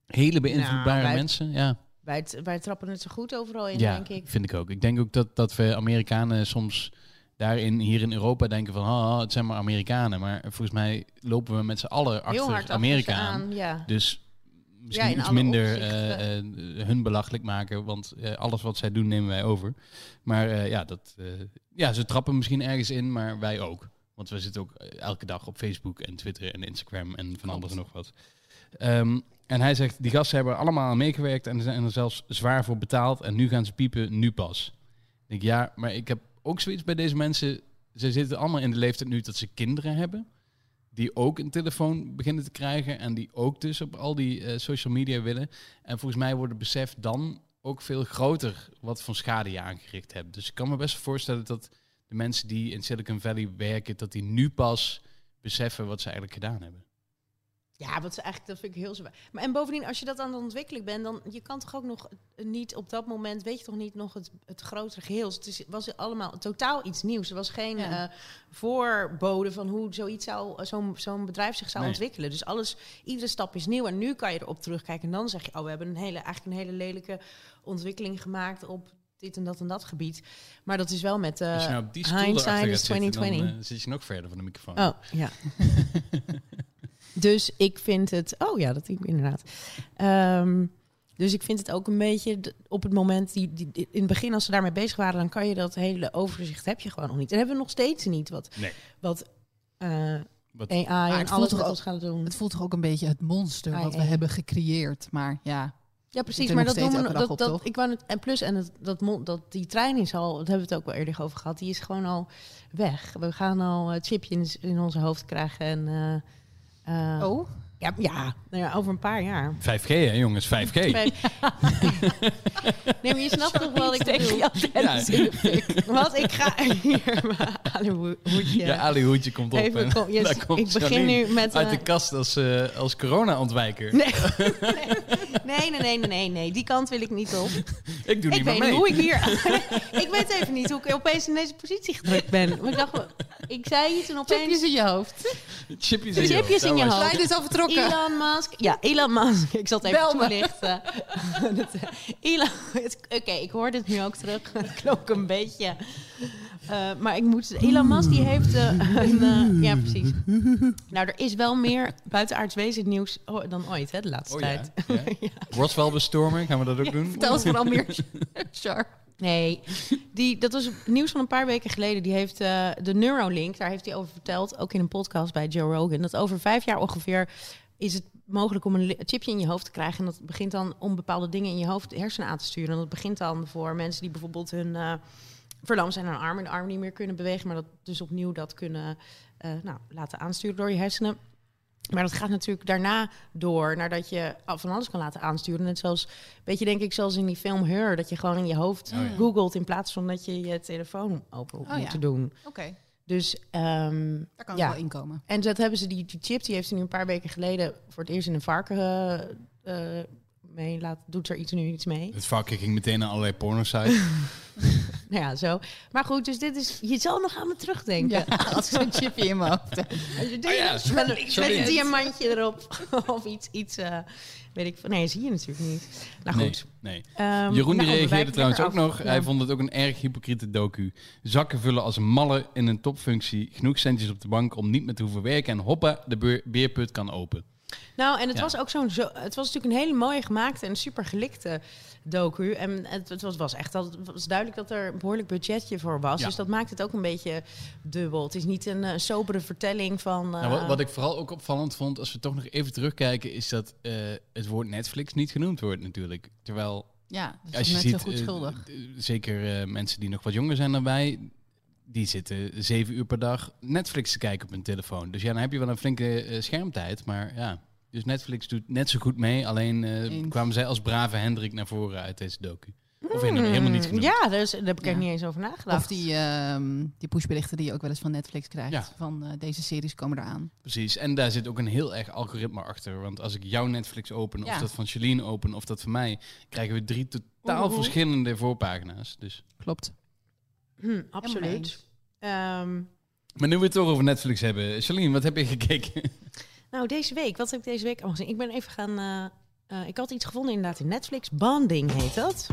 Hele beïnvloedbare Nou, wij- mensen, ja. wij, t- wij trappen het zo goed overal in, ja, denk ik. vind ik ook. Ik denk ook dat, dat we Amerikanen soms daarin hier in Europa denken van... Oh, het zijn maar Amerikanen. Maar volgens mij lopen we met z'n allen Heel hard achter achter Amerika ze aan. aan. Ja. Dus misschien Ja, in iets alle minder opzichten. eh, eh, hun belachelijk maken, want eh, alles wat zij doen nemen wij over. Maar eh, ja, dat, eh, ja, ze trappen misschien ergens in, maar wij ook. Want we zitten ook eh, elke dag op Facebook en Twitter en Instagram en van alles en nog wat. Ehm, en hij zegt, die gasten hebben er allemaal aan meegewerkt en zijn er zelfs zwaar voor betaald. En nu gaan ze piepen, nu pas. Ik denk, ja, maar ik heb ook zoiets bij deze mensen. Ze zitten allemaal in de leeftijd nu dat ze kinderen hebben. Die ook een telefoon beginnen te krijgen. En die ook dus op al die eh, social media willen. En volgens mij wordt het besef dan ook veel groter wat voor schade je aangericht hebt. Dus ik kan me best voorstellen dat de mensen die in Silicon Valley werken, dat die nu pas beseffen wat ze eigenlijk gedaan hebben. ja, wat ze eigenlijk, dat vind ik heel zwaar. Maar en bovendien, als je dat aan het ontwikkelen bent, dan je kan toch ook nog niet op dat moment, weet je toch niet nog het, het grotere geheel. Het is, was allemaal totaal iets nieuws. Er was geen Ja. eh, voorbode van hoe zoiets zou, eh, zo'n zo'n bedrijf zich zou Nee. ontwikkelen. Dus alles, iedere stap is nieuw en nu kan je erop terugkijken. En dan zeg je, oh, we hebben een hele, eigenlijk een hele lelijke ontwikkeling gemaakt op dit en dat en dat gebied. Maar dat is wel met eh Als je nou op die stoel hindsight erachter gaat is zitten, dan 2020. eh, zit je nog verder van de microfoon. Oh, ja. dus ik vind het... Oh ja, dat ik inderdaad. Ehm, Dus ik vind het ook een beetje d- op het moment, die, die, die- in het begin als ze daarmee bezig waren, dan kan je dat hele overzicht heb je gewoon nog niet. En hebben we nog steeds niet wat, Nee. wat, eh, Wat- AI het en voelt alles toch met ook- ons gaan doen. Het voelt toch ook een beetje het monster Ah, wat we ja. hebben gecreëerd. Maar ja, Ja, precies. er Maar nog dat doen we steeds nog- elke dag dat, op, dat, toch? ik wou het, en plus, en het, dat, mon- dat, die trein is al, daar hebben we het ook wel eerder over gehad, die is gewoon al weg. We gaan al eh, chipje in, in onze hoofd krijgen. En, eh, eh, oh, ja, ja, nou ja, over een paar jaar. 5G, hè jongens, 5G. Nee, maar je snapt toch wel wat ik bedoel. Ja, Want ik ga hier maar aan een hoe- hoedje. ja Ali Hoedje komt op. Even, en kom- yes, daar komt ik begin Charlene nu met... Uit eh, de kast als, eh, als corona-ontwijker. nee, eh, nee, nee, nee, nee, nee, nee, die kant wil ik niet op. Ik doe Ik niet weet meer niet mee. hoe ik hier. ik weet even niet hoe ik opeens in deze positie gedrukt ben. Maar ik dacht, ik zei iets en chipjes opeens. in je hoofd. Chipjes in je Chipjes in hoofd, je dat was het. hoofd. Lijn Oh. is al vertrokken. Elon Musk. Ja, Elon Musk. Ik zal het even Bel me. toelichten. eh, Elon. het- Oké, ik hoor dit nu ook terug. Het klonk een beetje. Eh, maar ik moet. Elon Musk die heeft eh, een. eh, ja, precies. Nou, er is wel meer buitenaards wezen nieuws o- dan ooit, hè, de laatste Oh, ja. tijd. Ja. Roswell bestormen, gaan we dat ook doen? Vertel eens vooral meer, Char. Nee, die, dat was nieuws van een paar weken geleden. Die heeft eh, de Neuralink, daar heeft hij over verteld, ook in een podcast bij Joe Rogan, dat over vijf jaar ongeveer is het mogelijk om een li- chipje in je hoofd te krijgen. En dat begint dan om bepaalde dingen in je hoofd, de hersenen aan te sturen. En dat begint dan voor mensen die bijvoorbeeld hun eh, verlamd zijn aan arm en de arm niet meer kunnen bewegen, maar dat dus opnieuw dat kunnen eh, nou, laten aansturen door je hersenen. Maar dat gaat natuurlijk daarna door, nadat je af- van alles kan laten aansturen. Net zoals, weet je, denk ik, zoals in die film Her, dat je gewoon in je hoofd Oh ja. googelt in plaats van dat je je telefoon open Oh moet ja. doen. Oké, Dus, ehm, daar kan Ja. ik wel inkomen. en dat hebben ze, die, die chip, die heeft ze nu een paar weken geleden voor het eerst in een varken eh, eh, mee. Laat, doet er iets nu iets mee. Het vakje ging meteen naar allerlei pornosites. Nou ja, zo. Maar goed, dus dit is, je zal nog aan me terugdenken. Ja, als zo'n chipje in mijn hoofd. heb. Als je Oh ja, denkt, met, een- met sorry. een diamantje erop. of iets, iets eh, weet ik van. Nee, zie je natuurlijk niet. Nou Nee, goed. nee. Jeroen Ehm, die nou, we reageerde wijken trouwens ook lekker af. nog. Ja. Hij vond het ook een erg hypocriete docu. Zakken vullen als mallen in een topfunctie. Genoeg centjes op de bank om niet meer te hoeven werken. En hoppa, de beur- beerput kan open. Nou, en het Ja. was ook zo'n. Zo, het was natuurlijk een hele mooie gemaakte en super gelikte docu. En het, het was, was echt. al- Het was duidelijk dat er een behoorlijk budgetje voor was. Ja. Dus dat maakt het ook een beetje dubbel. Het is niet een eh, sobere vertelling van. eh, Nou, wat, wat ik vooral ook opvallend vond, als we toch nog even terugkijken, is dat eh, het woord Netflix niet genoemd wordt natuurlijk. Terwijl Ja, dat als is je net ziet, zo goed eh, schuldig. d- zeker eh, mensen die nog wat jonger zijn dan wij, die zitten zeven uur per dag Netflix te kijken op hun telefoon. Dus ja, dan heb je wel een flinke eh, schermtijd, maar ja. Dus Netflix doet net zo goed mee, alleen eh, Eens. kwamen zij als brave Hendrik naar voren uit deze docu. Of helemaal niet genoemd. Hmm. Ja, daar, is, daar heb ik Hmm, Ja. er niet eens over nagedacht. Of die, ehm, die pushberichten die je ook wel eens van Netflix krijgt. Ja. Van eh, deze series komen eraan. Precies, en daar zit ook een heel erg algoritme achter. Want als ik jouw Netflix open, of Ja. dat van Celine open, of dat van mij, krijgen we drie totaal Oeh. verschillende voorpagina's. Dus. Klopt. Hm, Helemaal absoluut. eens. Ehm, Maar nu we het toch over Netflix hebben. Celine, wat heb je gekeken? nou, deze week. Wat heb ik deze week allemaal gezien? Ik ben even gaan. eh, eh, ik had iets gevonden inderdaad in Netflix. Bonding heet dat.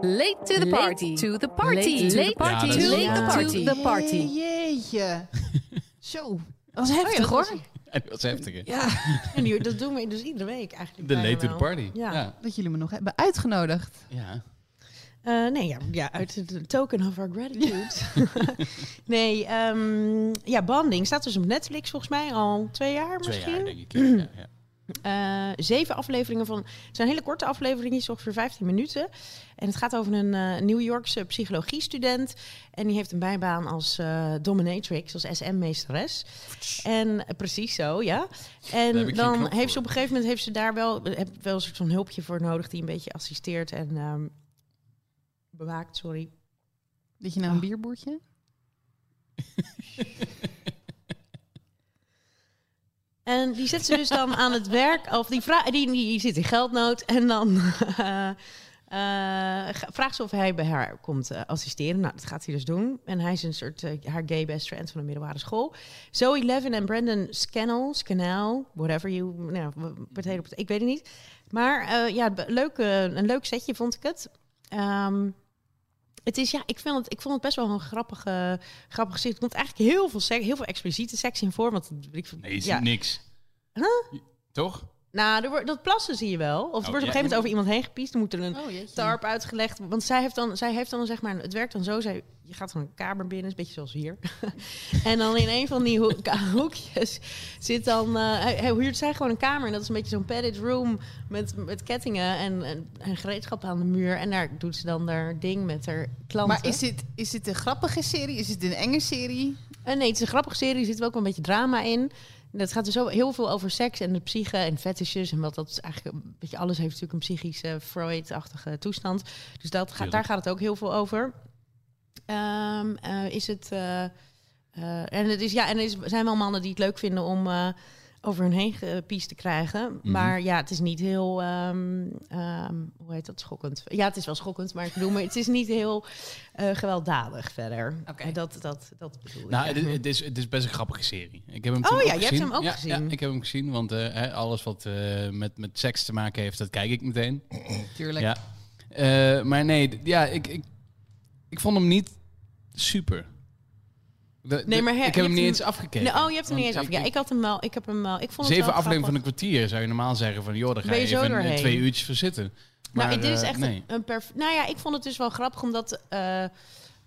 Late to the party. Late to the party. Late to the party. Late Late to to the party. the party. Jeetje. Zo. Dat was Oh ja, dat heftig was- hoor. En dat was heftig. hè? Ja. En die, dat doen we dus iedere week eigenlijk. De bijna late to the wel. party. Ja. Ja. Dat jullie me nog hebben uitgenodigd. ja. Eh, nee, ja, ja, uit het token of our gratitude. nee, ehm, ja, Banding staat dus op Netflix volgens mij al twee jaar Twee misschien. jaar denk ik. Ja, ja, ja. Eh, zeven afleveringen van. Het zijn hele korte afleveringen, ongeveer 15 minuten. En het gaat over een eh, New Yorkse psychologiestudent. En die heeft een bijbaan als eh, dominatrix, als SM-meesteres. En eh, precies zo, ja. Daar heb En ik geen dan knop heeft ze voor. op een gegeven moment heeft ze daar wel, heb wel een soort van hulpje voor nodig die een beetje assisteert en ehm, bewaakt, sorry. Dat je nou een bierboertje? En die zet ze dus dan aan het werk, of die, vra- die, die zit in geldnood. En dan eh, eh, ga- vraagt ze of hij bij haar komt eh, assisteren. Nou, dat gaat hij dus doen. En hij is een soort eh, haar gay best friend van de middelbare school. Zoe Levin en Brandon Scannell, Scannell, whatever you, nou, w- potato, potato, ik weet het niet. Maar eh, ja, be- leuk, eh, een leuk setje vond ik het. Ehm, het is, ja, ik, vind het, ik vond het best wel een grappige, grappig gezicht. Er komt eigenlijk heel veel, seks, heel veel expliciete seks in voor. Want ik, Nee, je ziet ja, niks. Huh? Je- Toch? Nou, er wordt- dat plassen zie je wel. Of er wordt op ja. een gegeven moment over iemand heen gepiest. Dan moet er een Oh, jeetje. tarp uitgelegd. Want zij heeft dan, zij heeft dan zeg maar, het werkt dan zo. Zij, je gaat dan een kamer binnen, is een beetje zoals hier. en dan in een van die hoek- hoekjes zit dan, eh, hij, hij huurt zij gewoon een kamer. En dat is een beetje zo'n padded room met, met kettingen en, en, en gereedschap aan de muur. En daar doet ze dan haar ding met haar klanten. Maar is dit, is dit een grappige serie? Is dit een enge serie? Eh, nee, het is een grappige serie. Er zit wel ook een beetje drama in. En Het gaat dus ook heel veel over seks en de psyche en fetishes. En wat dat is eigenlijk een beetje alles heeft natuurlijk een psychische Freud-achtige toestand. Dus dat gaat, Tuurlijk. daar gaat het ook heel veel over. Ehm, eh, is het. eh, eh, en het is, ja, en er is, zijn wel mannen die het leuk vinden om. eh, over hun heen gepiest te krijgen. Maar ja, het is niet heel... ehm, ehm, hoe heet dat? Schokkend. Ja, het is wel schokkend, maar ik bedoel... Maar het is niet heel eh, gewelddadig verder. Oké. Eh, Dat, dat, dat bedoel ik. Nou, het, eigenlijk. is- het is, het is best een grappige serie. Ik heb hem Oh toen ook ja, je hebt gezien. hem ook ja, gezien. Ja, ik heb hem gezien, want eh, hè, alles wat eh, met, met seks te maken heeft, dat kijk ik meteen. Tuurlijk. Ja. Eh, maar nee, d- ja, ik, ik, ik vond hem niet super. De- de- Nee, maar her- ik je heb hem hebt niet hem- eens afgekeken. Nee, oh, je hebt hem Want niet eens af. Ja, ik had hem wel. Ik heb hem wel. Ik vond het Zeven wel afleveringen van grappig. een kwartier zou je normaal zeggen van... joh, daar ga Ben je je zo even eh, doorheen? twee uurtjes voor zitten. Maar nou, dit is eh, echt nee. een, een perf. Nou ja, ik vond het dus wel grappig omdat. eh,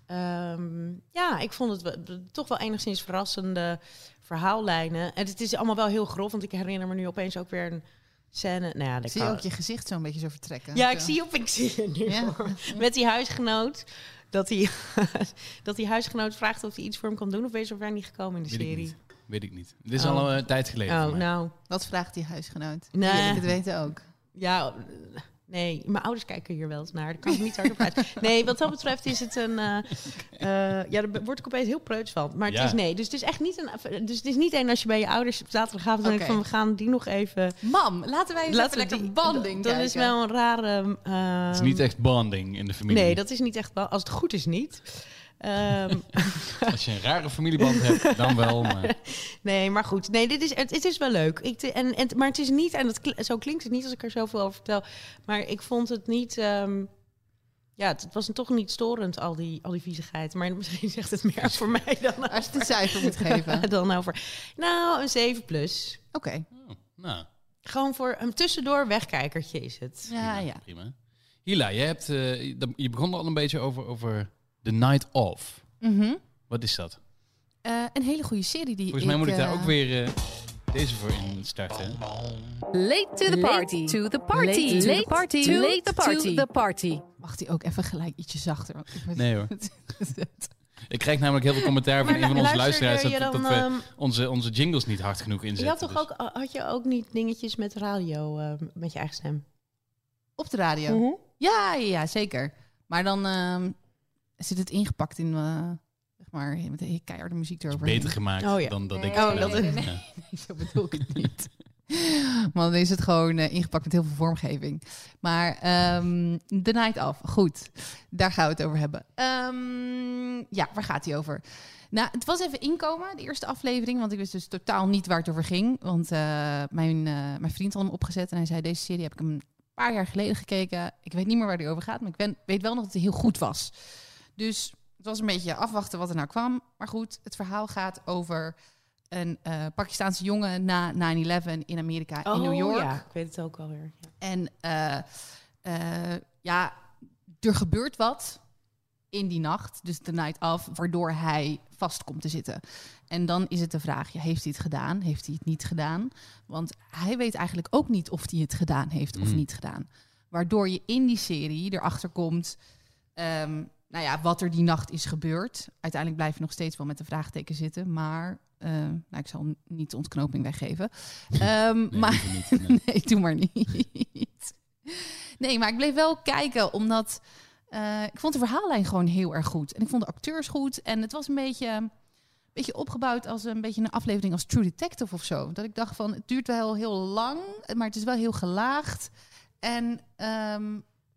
ehm, ja, ik vond het wel- toch wel enigszins verrassende verhaallijnen. En het is allemaal wel heel grof, want ik herinner me nu opeens ook weer een scène. Nou ja, dat Zie je kan- ook je gezicht zo'n beetje zo vertrekken? Ja, ik Zo. zie op, ik zie het nu. Ja. Met die huisgenoot. Dat die, dat die huisgenoot vraagt of hij iets voor hem kan doen. Of is er weer niet gekomen in de Weet ik serie? niet. Weet ik niet. Dit is Oh. al een eh, tijd geleden. Oh, voor mij. nou. Wat vraagt die huisgenoot? Nee. Wil ik het weten ook. Ja, eh, nee, mijn ouders kijken hier wel eens naar. Daar kan ik niet hard op uit. Nee, wat dat betreft is het een... eh, eh, ja, daar be- word ik opeens heel preuts van. Maar het Ja. is nee. Dus het is echt niet een... Dus het is niet één als je bij je ouders op zaterdagavond denkt Oké. van... we gaan die nog even... Mam, laten wij eens laten even lekker die- banding Dat kijken. is wel een rare... ehm, Het is niet echt bonding in de familie. Nee, dat is niet echt... wel- Als het goed is niet. Ehm, Als je een rare familieband hebt, dan wel. Maar... nee, maar goed. Nee, dit is, het, het is wel leuk. Ik, te- en, en, maar het is niet... En dat, kl- zo klinkt het niet als ik er zoveel over vertel. Maar ik vond het niet... ehm, ja, het, het was toch niet storend, al die, al die viezigheid. Maar misschien zegt het meer voor mij dan, Als je het een cijfer moet geven. Oké. dan over... Nou, een 7 plus. Oh, nou, Gewoon voor een tussendoor wegkijkertje is het. Ja, prima, ja. prima. Hila, jij hebt, eh, dat- je begon er al een beetje over, over The Night Of. Mhm. Wat is dat? Eh, een hele goede serie die Volgens mij moet ik daar eh, ook weer eh, deze voor in starten. Oh. Late to the Late party. to the party. Late to the Late party. to Late the to party. the party. Mag die ook even gelijk ietsje zachter? want ik ben- Nee hoor. Ik krijg namelijk heel veel commentaar van een van onze luisterde luisteraars... dat, je dan, dat we ehm, onze, onze jingles niet hard genoeg inzetten. je had toch dus- ook, had je ook niet dingetjes met radio, eh, met je eigen stem? Op de radio. Mhm. Ja, ja, Ah, ja, zeker. Maar dan ehm, zit het ingepakt in, eh, zeg maar, met de keiharde muziek Dus is erover. beter gemaakt Oh ja. dan dat ik Nee, het oh, gedaan dat- heb. nee, Ja. Nee, zo bedoel ik het niet. Maar dan is het gewoon eh, ingepakt met heel veel vormgeving. Maar ehm The Night Of, goed. Daar gaan we het over hebben. Ehm, ja, waar gaat hij over? Nou, het was even inkomen, de eerste aflevering. Want ik wist dus totaal niet waar het over ging. Want eh, mijn, eh, mijn vriend had hem opgezet en hij zei... deze serie heb ik een paar jaar geleden gekeken. Ik weet niet meer waar die over gaat, maar ik ben- weet wel nog dat hij heel goed was. Dus het was een beetje afwachten wat er nou kwam. Maar goed, het verhaal gaat over een eh, Pakistaanse jongen na 9-11 in Amerika, in New York. Oh, ja, ik weet het ook alweer. Ja. En eh, eh, ja, er gebeurt wat in die nacht, dus de night af, waardoor hij vast komt te zitten. En dan is het de vraag, ja, heeft hij het gedaan? Heeft hij het niet gedaan? Want hij weet eigenlijk ook niet of hij het gedaan heeft of Mm. niet gedaan. Waardoor je in die serie erachter komt, ehm, nou ja, wat er die nacht is gebeurd. Uiteindelijk blijf je nog steeds wel met de vraagteken zitten, maar eh, nou, ik zal niet de ontknoping weggeven. Ehm, Nee, maar liever niet, nee. Nee, doe maar niet. Nee, maar ik bleef wel kijken, omdat eh, ik vond de verhaallijn gewoon heel erg goed. En ik vond de acteurs goed. En het was een beetje, een beetje opgebouwd als een beetje een aflevering als True Detective of zo. Dat ik dacht van, het duurt wel heel lang, maar het is wel heel gelaagd. En ehm,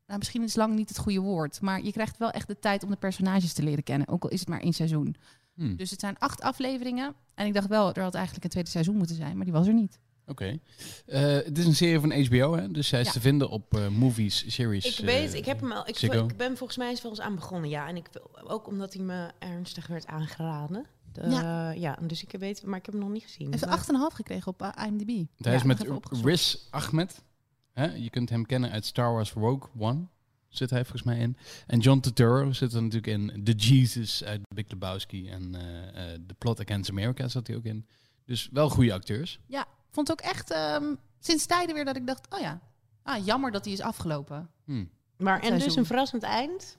nou, misschien is lang niet het goede woord, maar je krijgt wel echt de tijd om de personages te leren kennen. Ook al is het maar één seizoen. Hmm. Dus het zijn acht afleveringen. En ik dacht wel, er had eigenlijk een tweede seizoen moeten zijn, maar die was er niet. Oké. Eh, het is een serie van HBO, hè? dus zij is Ja. te vinden op eh, movies, series. Ik weet, eh, ik heb hem al. Ik, Ziggo. ik ben volgens mij eens wel eens aan begonnen, ja. En ik wil ook omdat hij me ernstig werd aangeraden. Eh, ja. dus ik weet, maar ik heb hem nog niet gezien. Heeft Mhm. Maar- 8,5 gekregen op eh, IMDb. Hij is Ja, met nog even opgezocht. Riz Ahmed. Hè? Je kunt hem kennen uit Star Wars Rogue One. Zit hij volgens mij in. En John Turturro zit er natuurlijk in. The Jesus uit Big Lebowski. En eh, eh, The Plot Against America zat hij ook in. Dus wel goede acteurs. Vond ook echt ehm, sinds tijden weer dat ik dacht, oh ja, ah, jammer dat die is afgelopen. Hm. Maar en dus Seizoen. een verrassend eind.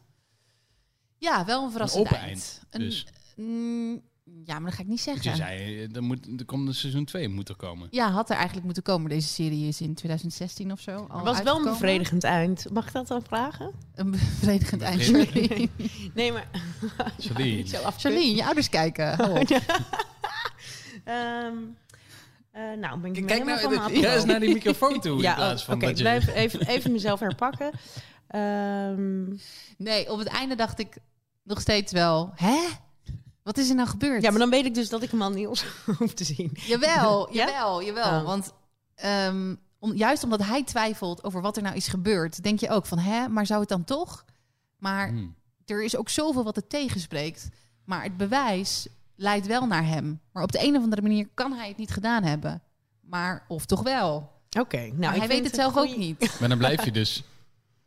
Ja, wel een verrassend open eind. Een- Dus mm, ja, maar dat ga ik niet je zeggen. zei, eh, er, moet, er komt een seizoen 2 moet er komen. Ja, had er eigenlijk moeten komen. Deze serie is in 2016 of zo. Al Het was wel een uitgekomen. bevredigend eind. Mag ik dat dan vragen? Een bevredigend eind. Bevredigend. Charlene. Nee, maar... Charlene. Niet zo afkut. Oh. Charlene, je ouders kijken. Hou op. Ehm, eh, nou, ben ik er Kijk helemaal nou, van me dat- jij is afgekomen. naar die microfoon toe. in plaats oh, van oké, dat je... blijf even, even mezelf herpakken. Ehm, Nee, op het einde dacht ik nog steeds wel, hè? Wat is er nou gebeurd? ja, maar dan weet ik dus dat ik hem al niet hoef te zien. Jawel, Ja? jawel, jawel. Oh. Want ehm, om, juist omdat hij twijfelt over wat er nou is gebeurd, denk je ook van, hè, maar zou het dan toch? Maar Hm. er is ook zoveel wat het tegenspreekt. Maar het bewijs leidt wel naar hem. Maar op de een of andere manier kan hij het niet gedaan hebben. Maar, of toch wel. Oké, nou, maar ik hij vind weet het een zelf goeie- ook niet. Maar dan blijf je dus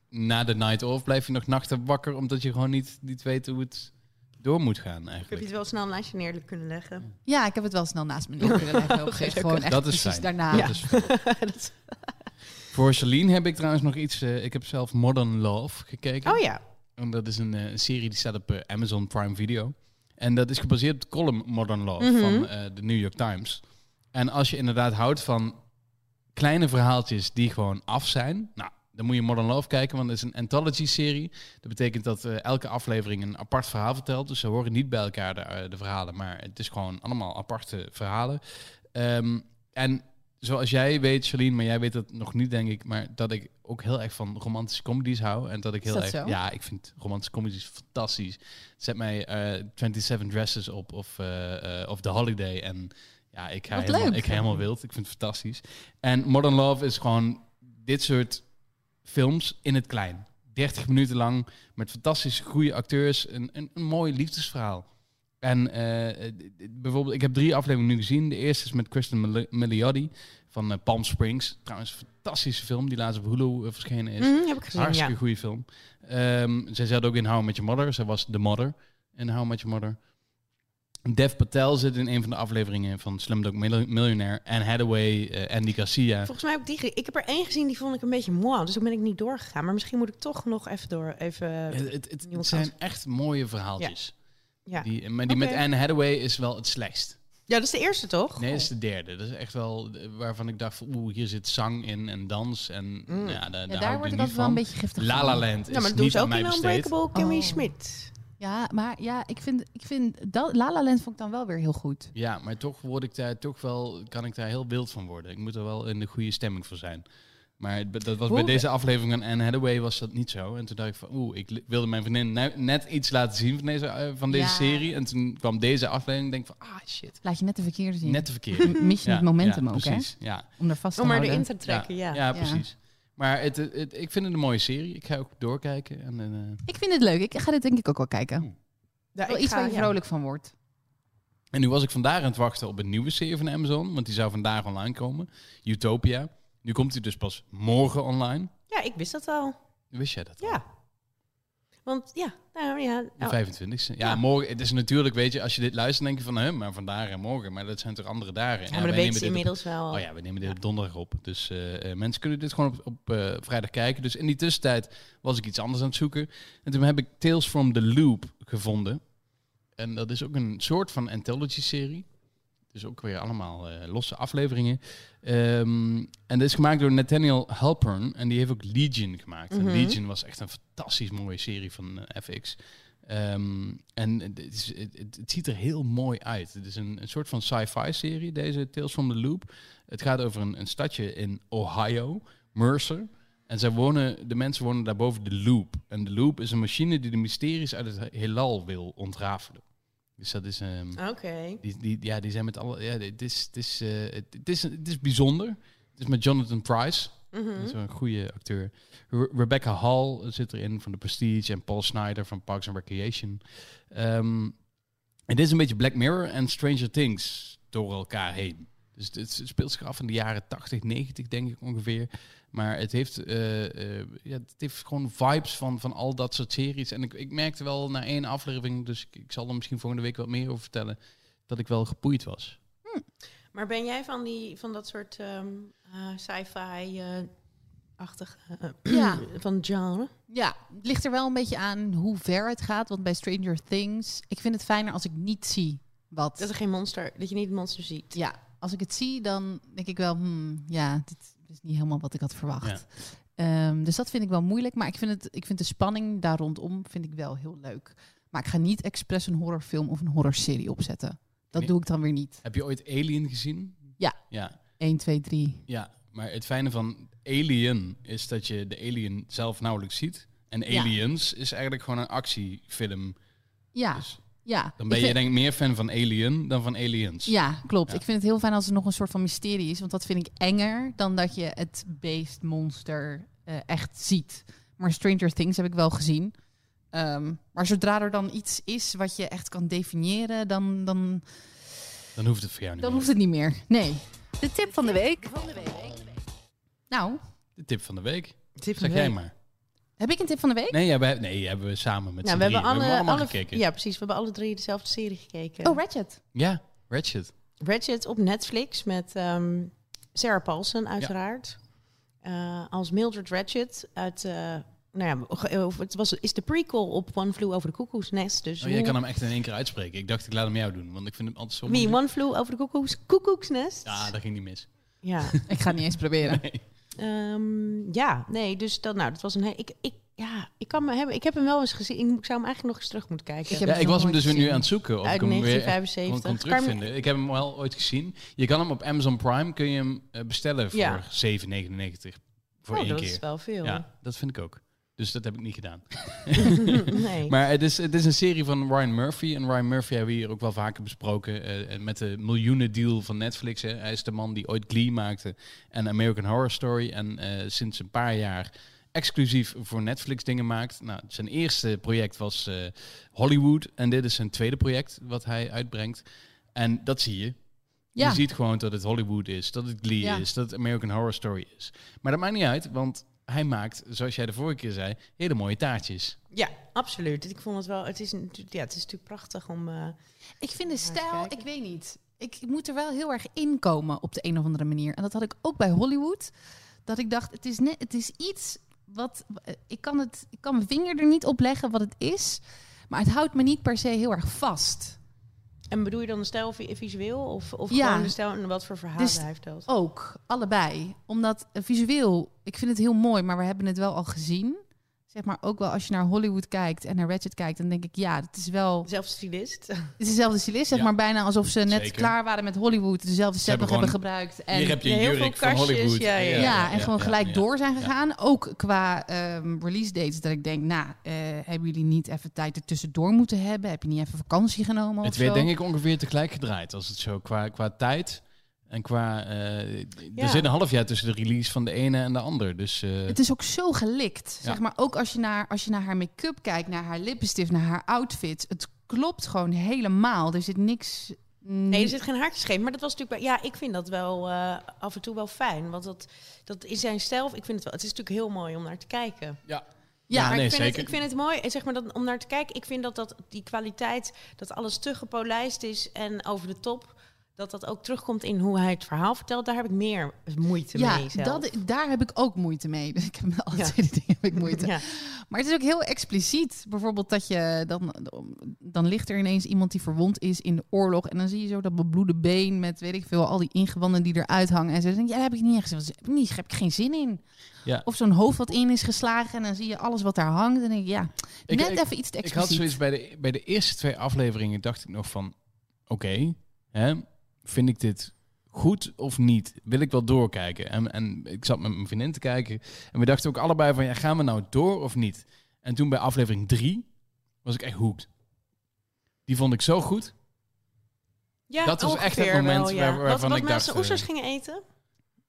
na de night off, blijf je nog nachten wakker, omdat je gewoon niet, niet weet hoe het door moet gaan Ik heb je eigenlijk. het wel snel naast je neerlijk kunnen leggen. Ja, ik heb het wel snel naast me neer kunnen leggen. op een gegeven moment. Gewoon echt Dat is precies fijn. daarna. Dat Ja. is fijn. Dat is- Voor Celine heb ik trouwens nog iets. eh, ik heb zelf Modern Love gekeken. oh ja, En dat is een eh, een serie die staat op eh, Amazon Prime Video. En dat is gebaseerd op de column Modern Love Mhm. van eh, de New York Times. En als je inderdaad houdt van kleine verhaaltjes die gewoon af zijn, nou, dan moet je Modern Love kijken, want het is een anthology-serie. Dat betekent dat eh, elke aflevering een apart verhaal vertelt. Dus ze horen niet bij elkaar de, eh, de verhalen, maar het is gewoon allemaal aparte verhalen. Ehm, en zoals jij weet, Charlene, maar jij weet dat nog niet, denk ik, maar dat ik ook heel erg van romantische comedies hou. En dat ik Is heel dat erg. zo? Ja, ik vind romantische comedies fantastisch. Zet mij eh 27 Dresses op of, eh, eh, of The Holiday. En ja, ik ga, Wat helemaal, leuk. ik ga helemaal wild. Ik vind het fantastisch. En Modern Love is gewoon dit soort films in het klein. 30 minuten lang met fantastisch goede acteurs. Een, een, een mooi liefdesverhaal. En eh, eh, d- d- bijvoorbeeld, ik heb drie afleveringen nu gezien. De eerste is met Kristen Mil- Milioti van eh, Palm Springs. Trouwens, een fantastische film die laatst op Hulu eh, verschenen is. Mhm, heb ik gezien, Hartstikke ja. goede film. Ehm, zij zat ook in How I Met Your Mother. Zij was de mother in How I Met Your Mother. Dev Patel zit in een van de afleveringen van Slumdog Mil- Millionaire. Anne Hathaway, eh Andy Garcia. Volgens mij heb ik die... ge- Ik heb er één gezien, die vond ik een beetje mooi. Dus toen ben ik niet doorgegaan. Maar misschien moet ik toch nog even door... Even, Het, het, het- het Nieuwe zijn kans. echt mooie verhaaltjes. ja. Die, eh, maar die met Oké. Anne Hathaway is wel het slechtst. ja, dat is de eerste, toch? Nee, dat is de derde. Dat is echt wel eh, waarvan ik dacht, van, oeh, hier zit zang in en dans. En Mm. ja, daar, daar, Ja, daar word word ik ik niet altijd wel een van. beetje giftig La van. La Land is Ja, maar dat doen niet ze aan ook mij in besteed. Unbreakable Kimmy Oh. Schmidt. Ja, maar ja, ik vind, ik vind dat, La La Land vond ik dan wel weer heel goed. Ja, maar toch word ik daar toch wel, kan ik daar heel wild van worden. Ik moet er wel in de goede stemming voor zijn. Maar het be- dat was bij Hoe- deze aflevering van Anne Hathaway was dat niet zo. En toen dacht ik van, oeh, ik li- wilde mijn vriendin nu- net iets laten zien van deze, eh, van deze Ja. serie. En toen kwam deze aflevering en denk ik van, ah shit, Laat je net de verkeerde zien. net te verkeerd. M- Mis je Ja, het momentum ja, ook, hè? precies, ja. Om er vast te Om maar houden. erin te trekken, ja. Ja, Ja. precies. Maar het, het, het- ik vind het een mooie serie. Ik ga ook doorkijken. En, eh, Ik vind het leuk. Ik ga dit denk ik ook wel kijken. Ja, Wel ik iets ga- waar je ja. vrolijk van wordt. en nu was ik vandaag aan het wachten op een nieuwe serie van Amazon. Want die zou vandaag online komen. Utopia. Nu komt die dus pas morgen online. Ja, ik wist dat al. Wist jij dat? al? Ja. Want ja, nou ja. De oh, 25e. Ja, Ja. morgen. Het is natuurlijk, weet je, als je dit luistert, denk je van, hè, maar vandaag en morgen. Maar dat zijn toch andere dagen. ja, En maar dat wij weten nemen ze dit op- nou, inmiddels wel. Oh ja, we nemen dit op donderdag op. Dus eh, eh, mensen kunnen dit gewoon op, op eh, vrijdag kijken. Dus in die tussentijd was ik iets anders aan het zoeken. En toen heb ik Tales from the Loop gevonden. En dat is ook een soort van anthology-serie. Dus ook weer allemaal eh, losse afleveringen. Ehm, en dat is gemaakt door Nathaniel Halpern. En die heeft ook Legion gemaakt. Mhm. En Legion was echt een fantastisch mooie serie van eh, FX. Ehm, en het, is- het- het- het ziet er heel mooi uit. Het is een, een soort van sci-fi serie, deze Tales from the Loop. Het gaat over een, een stadje in Ohio, Mercer. En zij wonen, de mensen wonen daarboven de Loop. En de Loop is een machine die de mysteries uit het heelal wil ontrafelen. Dus dat is... ehm, Oké. die, die, ja, die zijn met alle... Ja, het, is, het, is, eh, het, het is, het is bijzonder. Het is met Jonathan Price. Mhm. Dat is wel een goede acteur. Re- Rebecca Hall zit erin van The Prestige en Paul Snyder van Parks and Recreation. Ehm, Het is een beetje Black Mirror en Stranger Things door elkaar heen. Dus het het speelt zich af in de jaren 80, 90 denk ik ongeveer. Maar het heeft, eh, eh, ja, het heeft gewoon vibes van, van al dat soort series. En ik, ik merkte wel na één aflevering, dus ik, ik zal er misschien volgende week wat meer over vertellen, dat ik wel gepoeid was. Maar ben jij van, die, van dat soort ehm, eh, sci-fi-achtige... Ja. eh, Van genre? Ja, het ligt er wel een beetje aan hoe ver het gaat. Want bij Stranger Things, ik vind het fijner als ik niet zie wat. Dat, er geen monster, dat je niet het monster ziet. Ja, als ik het zie, dan denk ik wel, hmm, ja, dit is niet helemaal wat ik had verwacht. Ehm, dus dat vind ik wel moeilijk. Maar ik vind, het, ik vind de spanning daar rondom vind ik wel heel leuk. Maar ik ga niet expres een horrorfilm of een horrorserie opzetten. Dat Nee. doe ik dan weer niet. Heb je ooit Alien gezien? Ja. Ja, 1, 2, 3. Ja, maar het fijne van Alien is dat je de alien zelf nauwelijks ziet. En Ja. Aliens is eigenlijk gewoon een actiefilm. Ja, Dus ja. dan ben Ik je vind- denk ik meer fan van Alien dan van Aliens. Ja, klopt. Ja. Ik vind het heel fijn als er nog een soort van mysterie is. Want dat vind ik enger dan dat je het beest, monster eh, echt ziet. Maar Stranger Things heb ik wel gezien. Ehm, maar zodra er dan iets is wat je echt kan definiëren, dan, dan, Dan hoeft het voor jou niet dan meer. hoeft het niet meer. Nee. De tip van de week. Nou, De tip van de week. Tip Zeg jij maar. heb ik een tip van de week? Nee, ja, wij, nee die hebben we samen met Nou, z'n we hebben, drieën. alle, we hebben allemaal alle- gekeken. Ja. Ja, precies. We hebben alle drie dezelfde serie gekeken. Oh, Ratchet. Ratchet. Oh, Ratchet op Netflix met ehm, Sarah Paulson uiteraard. Eh, als Mildred Ratchet uit... eh, nou ja, ge- of het was, is de prequel op One Flew Over de Cuckoo's Nest. Dus Oh, jij hoe- kan hem echt in één keer uitspreken. Ik dacht, ik laat hem jou doen, want ik vind hem altijd zo Wie? moeilijk. One Flew Over de Cuckoo's, Cuckoo's Nest? Ja, dat ging niet mis. Ja. Ik ga het niet eens proberen. Nee. Ehm, ja, nee, dus dat, nou, dat was een... he- Ik, ik, ja, ik, kan me hebben, ik heb hem wel eens gezien. Ik moet- ik zou hem eigenlijk nog eens terug moeten kijken. Ik heb Ja, hem ik nog was hem nooit dus weer nu gezien. aan het zoeken. Of Uit ik hem weer echt kon, 1975. kon Kan je hem- terugvinden. Ik heb hem wel ooit gezien. Je kan hem op Amazon Prime kun je hem eh, bestellen voor Ja. 7,99 voor Oh, één dat keer. is wel veel. Ja, dat vind ik ook. Dus dat heb ik niet gedaan. nee. Maar het is, het is een serie van Ryan Murphy. En Ryan Murphy hebben we hier ook wel vaker besproken. eh, en met de miljoenen deal van Netflix. Hè. Hij is de man die ooit Glee maakte. En American Horror Story. En eh, sinds een paar jaar exclusief voor Netflix dingen maakt. Nou, zijn eerste project was eh, Hollywood. En dit is zijn tweede project wat hij uitbrengt. En dat zie je. Ja. Je ziet gewoon dat het Hollywood is, dat het Glee Ja. is, dat het American Horror Story is. Maar dat maakt niet uit, want hij maakt, zoals jij de vorige keer zei, hele mooie taartjes. Ja, absoluut. Ik vond het wel. Het is, natu- ja, het is natuurlijk prachtig om. eh, Ik vind de Even stijl, kijken. ik weet niet. Ik moet er wel heel erg in komen op de een of andere manier. En dat had ik ook bij Hollywood. Dat ik dacht, het is, net, het is iets wat... eh, Ik kan, het, ik kan mijn vinger er niet op leggen wat het is. Maar het houdt me niet per se heel erg vast. en bedoel je dan de stijl vi- visueel of, of Ja. gewoon de stijl en wat voor verhalen Dus- hij vertelt? Ook, allebei. Omdat eh, visueel, ik vind het heel mooi, maar we hebben het wel al gezien. Zeg maar ook wel als je naar Hollywood kijkt en naar Ratchet kijkt... dan denk ik, ja, het is wel... Zelfs stylist. Het is dezelfde stylist, zeg Ja. maar bijna alsof ze net Zeker. klaar waren met Hollywood. Dezelfde set hebben nog hebben gebruikt. En Hier heb je Ja, een heel veel jurk van kastjes, Hollywood. ja, ja, Ja, en gewoon ja, gelijk ja. door zijn gegaan. Ook qua ehm, release dates. Dat ik denk, nou, eh, hebben jullie niet even tijd ertussendoor moeten hebben? Heb je niet even vakantie genomen? Het of werd zo? denk ik ongeveer tegelijk gedraaid, als het zo qua, qua tijd en qua... eh, Ja. Er zit een half jaar tussen de release van de ene en de ander, dus... eh, Het is ook zo gelikt. Ja. Zeg maar ook als je, naar, als je naar haar make-up kijkt, naar haar lippenstift, naar haar outfit. Het klopt gewoon helemaal. Er zit niks. Nee, er zit geen haartjes maar dat was natuurlijk. Bij, ja, ik vind dat wel eh, af en toe wel fijn, want dat, dat is zijn stijl. Ik vind het wel. Het is natuurlijk heel mooi om naar te kijken. ja, Ja, maar nee, ik, vind zeker. Het, ik vind het mooi, eh, zeg maar, dat, om naar te kijken. Ik vind dat, dat die kwaliteit, dat alles te gepolijst is en over de top, dat dat ook terugkomt in hoe hij het verhaal vertelt. Daar heb ik meer moeite ja mee zelf. dat, daar heb ik ook moeite mee. Dus ik heb met alle Ja. twee die dingen heb ik moeite. Ja. Maar het is ook heel expliciet. Bijvoorbeeld dat je dan, dan ligt er ineens iemand die verwond is in de oorlog. En dan zie je zo dat bebloede been met weet ik veel, al die ingewanden die eruit hangen. En ze denken, ja, daar heb ik niet gezien. want Daar heb ik niet- daar heb ik geen zin in. Ja. Of zo'n hoofd wat in is geslagen en dan zie je alles wat daar hangt. En dan denk ik, ja, Ik- net ik- even iets te Ik had expliciet. zoiets bij de, bij de eerste twee afleveringen dacht ik nog van oké, hè, vind ik dit goed of niet? Wil ik wel doorkijken? En, en ik zat met mijn vriendin te kijken en we dachten ook allebei van ja, gaan we nou door of niet? En toen bij aflevering drie was ik echt hooked. Die vond ik zo goed. Ja, Dat was echt het ongeveer moment wel, waar- Wat- waarvan wat ik mensen dacht, eh, oesters gingen eten?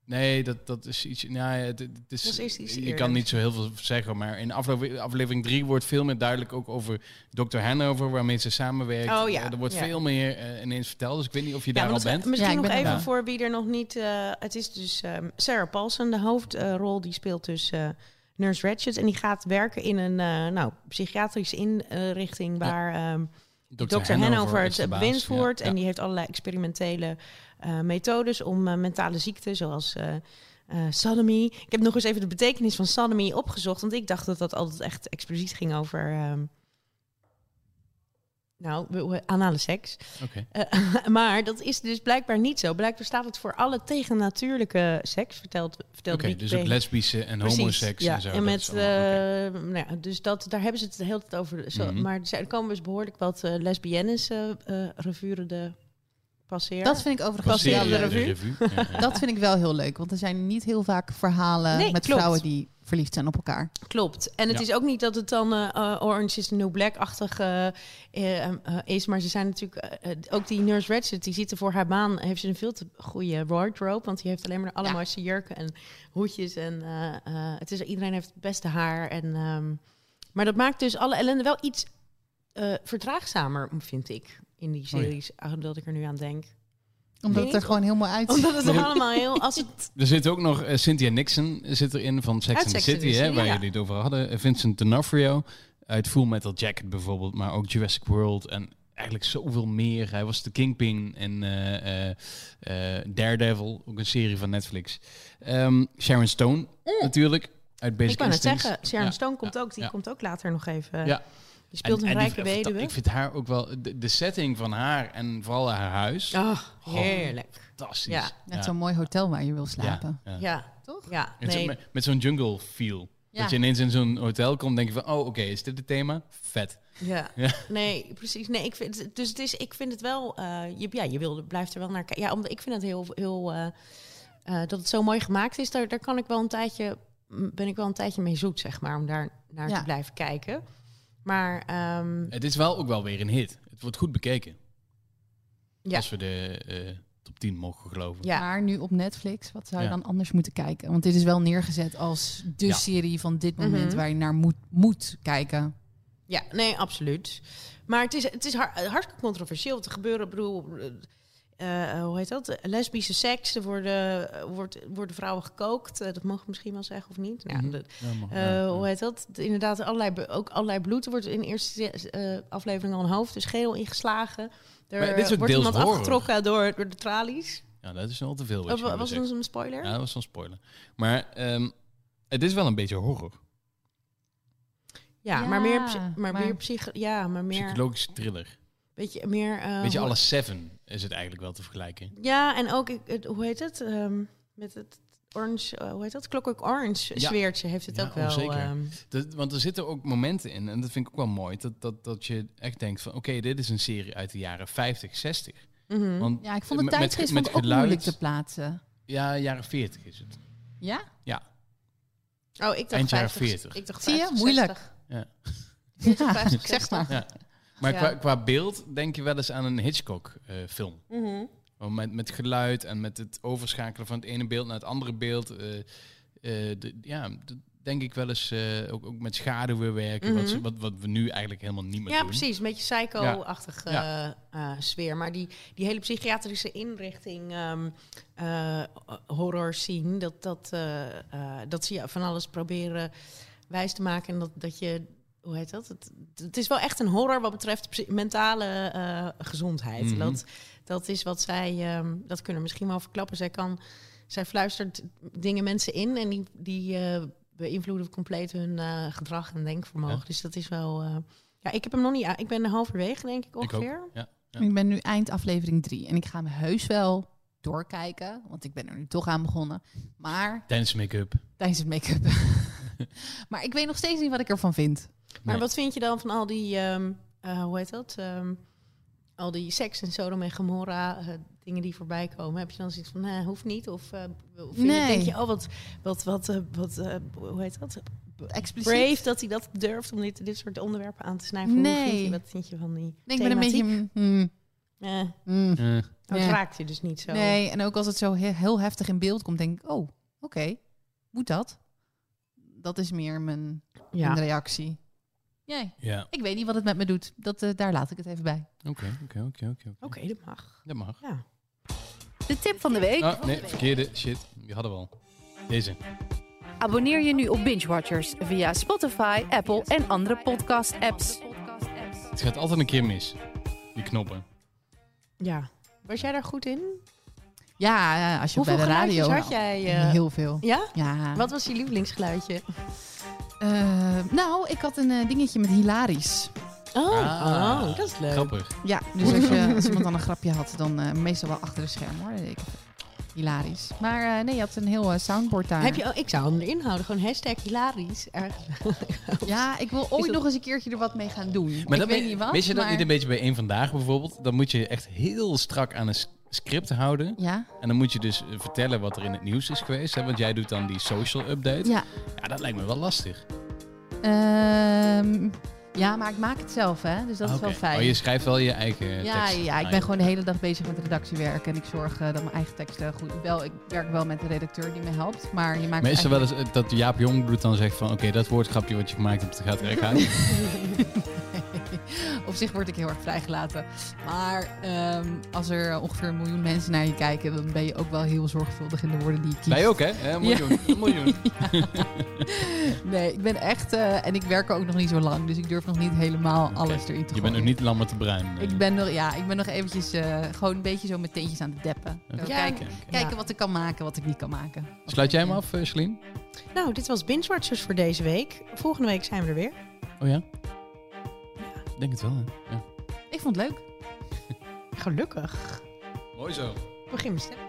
Nee, dat, dat is iets. Nou ja, het, het is, Dat is iets je eerder. kan niet zo heel veel zeggen, maar in aflevering, aflevering 3 wordt veel meer duidelijk ook over Dr. Hanover, waarmee ze samenwerkt. Oh ja, Eh, er wordt ja. veel meer eh, ineens verteld, dus ik weet niet of je Ja, daar maar al dat- bent. Ja, Misschien ik nog ben er even wel. voor wie er nog niet... eh, het is dus ehm, Sarah Paulson, de hoofdrol. die speelt dus eh, Nurse Ratched. En die gaat werken in een eh, nou, psychiatrische inrichting... waar ehm, Dr. Hanover is de het baas, bewind ja. voert. Ja. En die heeft allerlei experimentele eh, methodes om eh, mentale ziekten, zoals eh eh, sodomy. Ik heb nog eens even de betekenis van sodomy opgezocht, want ik dacht dat dat altijd echt expliciet ging over. ehm, nou, we- we- anale seks. Oké. Eh, maar dat is dus blijkbaar niet zo. Blijkbaar staat het voor alle tegennatuurlijke seks, vertelt, vertelde Oké, dus ook Wikipedia. lesbische en Precies, homoseks en zo. dat met, is allemaal- oké. eh, nou ja, dus dat, daar hebben ze het de hele tijd over. Zo, Mhm. Maar er zijn- er komen dus behoorlijk wat eh lesbiennes eh eh, revure de passeer. Dat vind ik overigens Passeer wel Passeer de leuk. de revue. Ja, ja. Dat vind ik wel heel leuk, want er zijn niet heel vaak verhalen Nee, met klopt. vrouwen die verliefd zijn op elkaar. klopt. En het Ja. is ook niet dat het dan eh, eh, Orange is the New Black-achtig eh, eh, eh, is. Maar ze zijn natuurlijk... eh, eh, ook die Nurse Ratched, die ziet er voor haar baan... heeft ze een veel te goede wardrobe. Want die heeft alleen maar de allermooiste jurken en hoedjes. En eh, eh, het is, iedereen heeft het beste haar. En, ehm, maar dat maakt dus alle ellende wel iets eh, verdraagzamer, vind ik. In die Oh ja. series, ah, dat ik er nu aan denk. Omdat Nee. het er gewoon heel mooi uitziet. Omdat het er allemaal heel... Als het, Er zit ook nog eh, Cynthia Nixon zit erin van Sex Uit and the Sex and City, the hè, City, waar ja. jullie het over hadden. Eh, Vincent D'Onofrio uit Full Metal Jacket bijvoorbeeld, maar ook Jurassic World en eigenlijk zoveel meer. Hij was de Kingpin in eh, eh, eh, Daredevil, ook een serie van Netflix. Ehm, Sharon Stone natuurlijk, uit Basic Mm. ik wou net Instincts. zeggen, Sharon Ja, Stone komt ja, ook. Die ja. komt ook later nog even... Ja. Die speelt En- een en die- rijke weduwe. Ik vind haar ook wel, de, de setting van haar en vooral haar huis, Ach, Oh. heerlijk. fantastisch. Ja. Net zo'n mooi hotel waar je wil slapen. Ja, ja. Ja. Toch? Ja, Het is nee. met, met zo'n jungle feel. Ja. Dat je ineens in zo'n hotel komt, denk je van, oh oké, is dit het thema? Vet. Ja. Ja. Nee, precies. Nee, ik vind, het- dus het is, ik vind het wel... eh, je, ja, je wil, blijft er wel naar kijken. Ja, omdat ik vind het heel... heel eh, eh, dat het zo mooi gemaakt is, daar, daar kan ik wel een tijdje... m, ben ik wel een tijdje mee zoet, zeg maar, om daar naar Ja. te blijven kijken. Maar ehm, Het is wel ook wel weer een hit. Het wordt goed bekeken. Ja. Als we de eh, top 10 mogen geloven. ja, Maar nu op Netflix, wat zou je Ja. dan anders moeten kijken? Want dit is wel neergezet als de Ja. serie van dit moment Mhm. waar je naar moet, moet kijken. Ja, nee, absoluut. Maar het is, het is har- hartstikke controversieel wat er gebeuren. Ik bedoel, eh, eh, hoe heet dat? Lesbische seks, er worden, eh, wordt, worden vrouwen gekookt. Eh, dat mag ik misschien wel zeggen of niet. Nou, Mhm. dat- Ja, maar- eh, ja, ja. Hoe heet dat? De- Inderdaad, allerlei, be- ook allerlei bloed. Er wordt in de eerste eh, aflevering al een hoofd, dus geel ingeslagen. Er Maar dit is ook wordt deels iemand horror. afgetrokken door, door de tralies. Ja, dat is wel te veel. wat Of je nu Oh, was zegt. dat een spoiler? Ja, dat was zo'n spoiler. Maar ehm, het is wel een beetje horror. Ja, Ja, maar meer, psy- maar maar- meer psych- Ja, maar meer... Psychologische thriller. Beetje, meer eh, Weet je, hoe- alle Seven is het eigenlijk wel te vergelijken. Ja, en ook, ik- het- hoe heet het? ehm, met het orange, eh, hoe heet dat? Clockwork Orange Ja. zweertje heeft het Ja, ook oh, wel. zeker. ehm. Dat, want er zitten ook momenten in, en dat vind ik ook wel mooi, dat, dat, dat je echt denkt van, oké, dit is een serie uit de jaren 50, 60. mhm. Want, Ja, ik vond de eh, met- tijdgeest met vond ik ook geluid. moeilijk te plaatsen. ja, jaren 40 is het. Ja? oh, ik dacht eind jaren 50, 40. Ik dacht Zie je? 50, Moeilijk. 60. Ja. Ja, vijftig, ik zeg maar. Ja. Maar Ja. qua, qua beeld denk je wel eens aan een Hitchcock-film. Mhm. met, met geluid en met het overschakelen van het ene beeld naar het andere beeld. eh, eh, de- ja, d- denk ik wel eens eh, ook, ook met schaduwen werken. wat, ze- Mhm. wat, wat we nu eigenlijk helemaal niet meer Ja, doen. precies. Een beetje psycho-achtige Ja. eh, eh, sfeer. Maar die, die hele psychiatrische inrichting, ehm, eh, horror scene, dat, dat, eh, eh, dat zie je van alles proberen wijs te maken. En dat, dat je, hoe heet dat? Het, het is wel echt een horror wat betreft psy- mentale eh, gezondheid. Mhm. dat, dat is wat zij, ehm, dat kunnen we misschien wel verklappen. Zij kan, zij fluistert dingen mensen in en die, die eh, beïnvloeden compleet hun eh, gedrag en denkvermogen. Ja. Dus dat is wel. eh, ja, ik heb hem nog niet. a- Ik ben halverwege, denk ik ook. ongeveer. Ja. Ja. Ik ben nu eind aflevering 3 en ik ga hem heus wel doorkijken, want ik ben er nu toch aan begonnen. Maar Dance make-up. tijdens het make-up. maar ik weet nog steeds niet wat ik ervan vind. Maar Nee. wat vind je dan van al die, ehm, eh, hoe heet dat? Ehm, al die seks en Sodom en Gomorra, eh, dingen die voorbij komen. Heb je dan zoiets van, nee, hoeft niet? Of eh, vind je- Nee. denk je, oh, wat, wat, wat, eh, wat eh, hoe heet dat? Expliciet. Brave dat hij dat durft om dit, dit soort onderwerpen aan te snijden. Hoe Nee. vind je, wat vind je van die Nee, ik ben een beetje... thematiek? hmm, Eh, Mm. Eh, dat Ja. raakt je dus niet zo. Nee, en ook als het zo he- heel heftig in beeld komt, denk ik, oh, oké, moet dat? Dat is meer mijn, Ja. mijn reactie. Jij? ja, Ik weet niet wat het met me doet. Dat, eh, daar laat ik het even bij. oké, oké, oké, oké, oké. Oké, dat mag. Dat mag. Ja. De tip van de week. Oh, nee, verkeerde. Shit, die hadden we al. Deze. Abonneer je nu op Binge Watchers via Spotify, Apple en andere podcast apps. Het gaat altijd een keer mis. Die knoppen. ja. Was jij daar goed in? Ja, ja, eh, als je Hoeveel bij de radio... geluidjes had jij? eh, Heel veel. Ja? Ja. Wat was je lievelingsgeluidje? Eh, nou, ik had een eh, dingetje met hilarisch. Oh, Ah, oh, dat is leuk. Grappig. Ja, dus als, je, als iemand dan een grapje had, dan eh, meestal wel achter de scherm hoor. Ik, hilarisch. Maar eh, nee, je had een heel eh, soundboard daar. Heb je, oh, ik zou hem erin houden. Gewoon hashtag hilarisch. Erg. Ja, ik wil ooit dat- nog eens een keertje er wat mee gaan doen. Maar ik dat weet we- niet wat. Weet je dat maar... niet een beetje bij één vandaag bijvoorbeeld? Dan moet je echt heel strak aan een s- script houden. Ja, En dan moet je dus eh, vertellen wat er in het nieuws is geweest. Hè? Want jij doet dan die social update. ja. Ja, dat lijkt me wel lastig. Ehm, ja, maar ik maak het zelf, hè? Dus dat Ah, is wel oké. fijn. Oh, je schrijft wel je eigen ja, tekst. ja, ik Ah, ben gewoon de hele dag bezig met redactiewerk en ik zorg eh, dat mijn eigen teksten goed. Ik, wel, ik werk wel met de redacteur die me helpt, maar je maakt Meestal wel eigenlijk- eens eh, dat Jaap Jongbloed dan zegt van... Oké, dat woordgrapje wat je gemaakt hebt, dat gaat er echt uit. Op zich word ik heel erg vrijgelaten. Maar ehm, als er ongeveer een miljoen mensen naar je kijken, dan ben je ook wel heel zorgvuldig in de woorden die je kiest. Wij ook, hè? Eh, miljoen. miljoen. Nee, ik ben echt. eh, en ik werk ook nog niet zo lang, dus ik durf nog niet helemaal alles erin te Je gooien. bent nog niet Lammert de Bruin. eh. Ik ben nog, ja, ik ben nog eventjes eh, gewoon een beetje zo met teentjes aan het deppen. Zo Oké. kijken, Oké, oké. kijken wat ik kan maken, wat ik niet kan maken. Wat Sluit jij ik, hem eh, af, eh, Celine? Nou, dit was Binge Watchers voor deze week. Volgende week zijn we er weer. Oh ja? Ik denk het wel, hè? Ja. Ik vond het leuk. Gelukkig. Mooi zo. Begin met stemmen.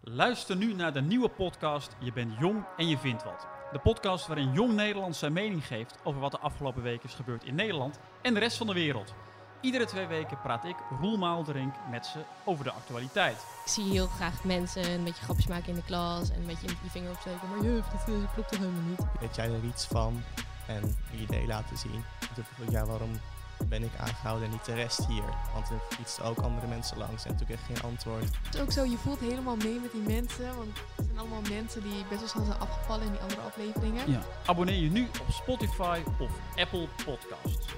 Luister nu naar de nieuwe podcast Je bent jong en je vindt wat. De podcast waarin jong Nederland zijn mening geeft over wat de afgelopen week is gebeurd in Nederland en de rest van de wereld. Iedere twee weken praat ik, Roel Maalderink, met ze over de actualiteit. Ik zie heel graag mensen een beetje grapjes maken in de klas en een beetje je vinger opsteken. Maar jeugd, dat eh, klopt toch helemaal niet? weet jij er iets van en je idee laten zien. En toen vroeg ik, ja, waarom ben ik aangehouden en niet de rest hier? Want er fietsten ook andere mensen langs en toen kreeg ik geen antwoord. Het is ook zo, je voelt helemaal mee met die mensen. Want het zijn allemaal mensen die best wel snel zijn afgevallen in die andere afleveringen. Abonneer je nu op Spotify of Apple Podcasts.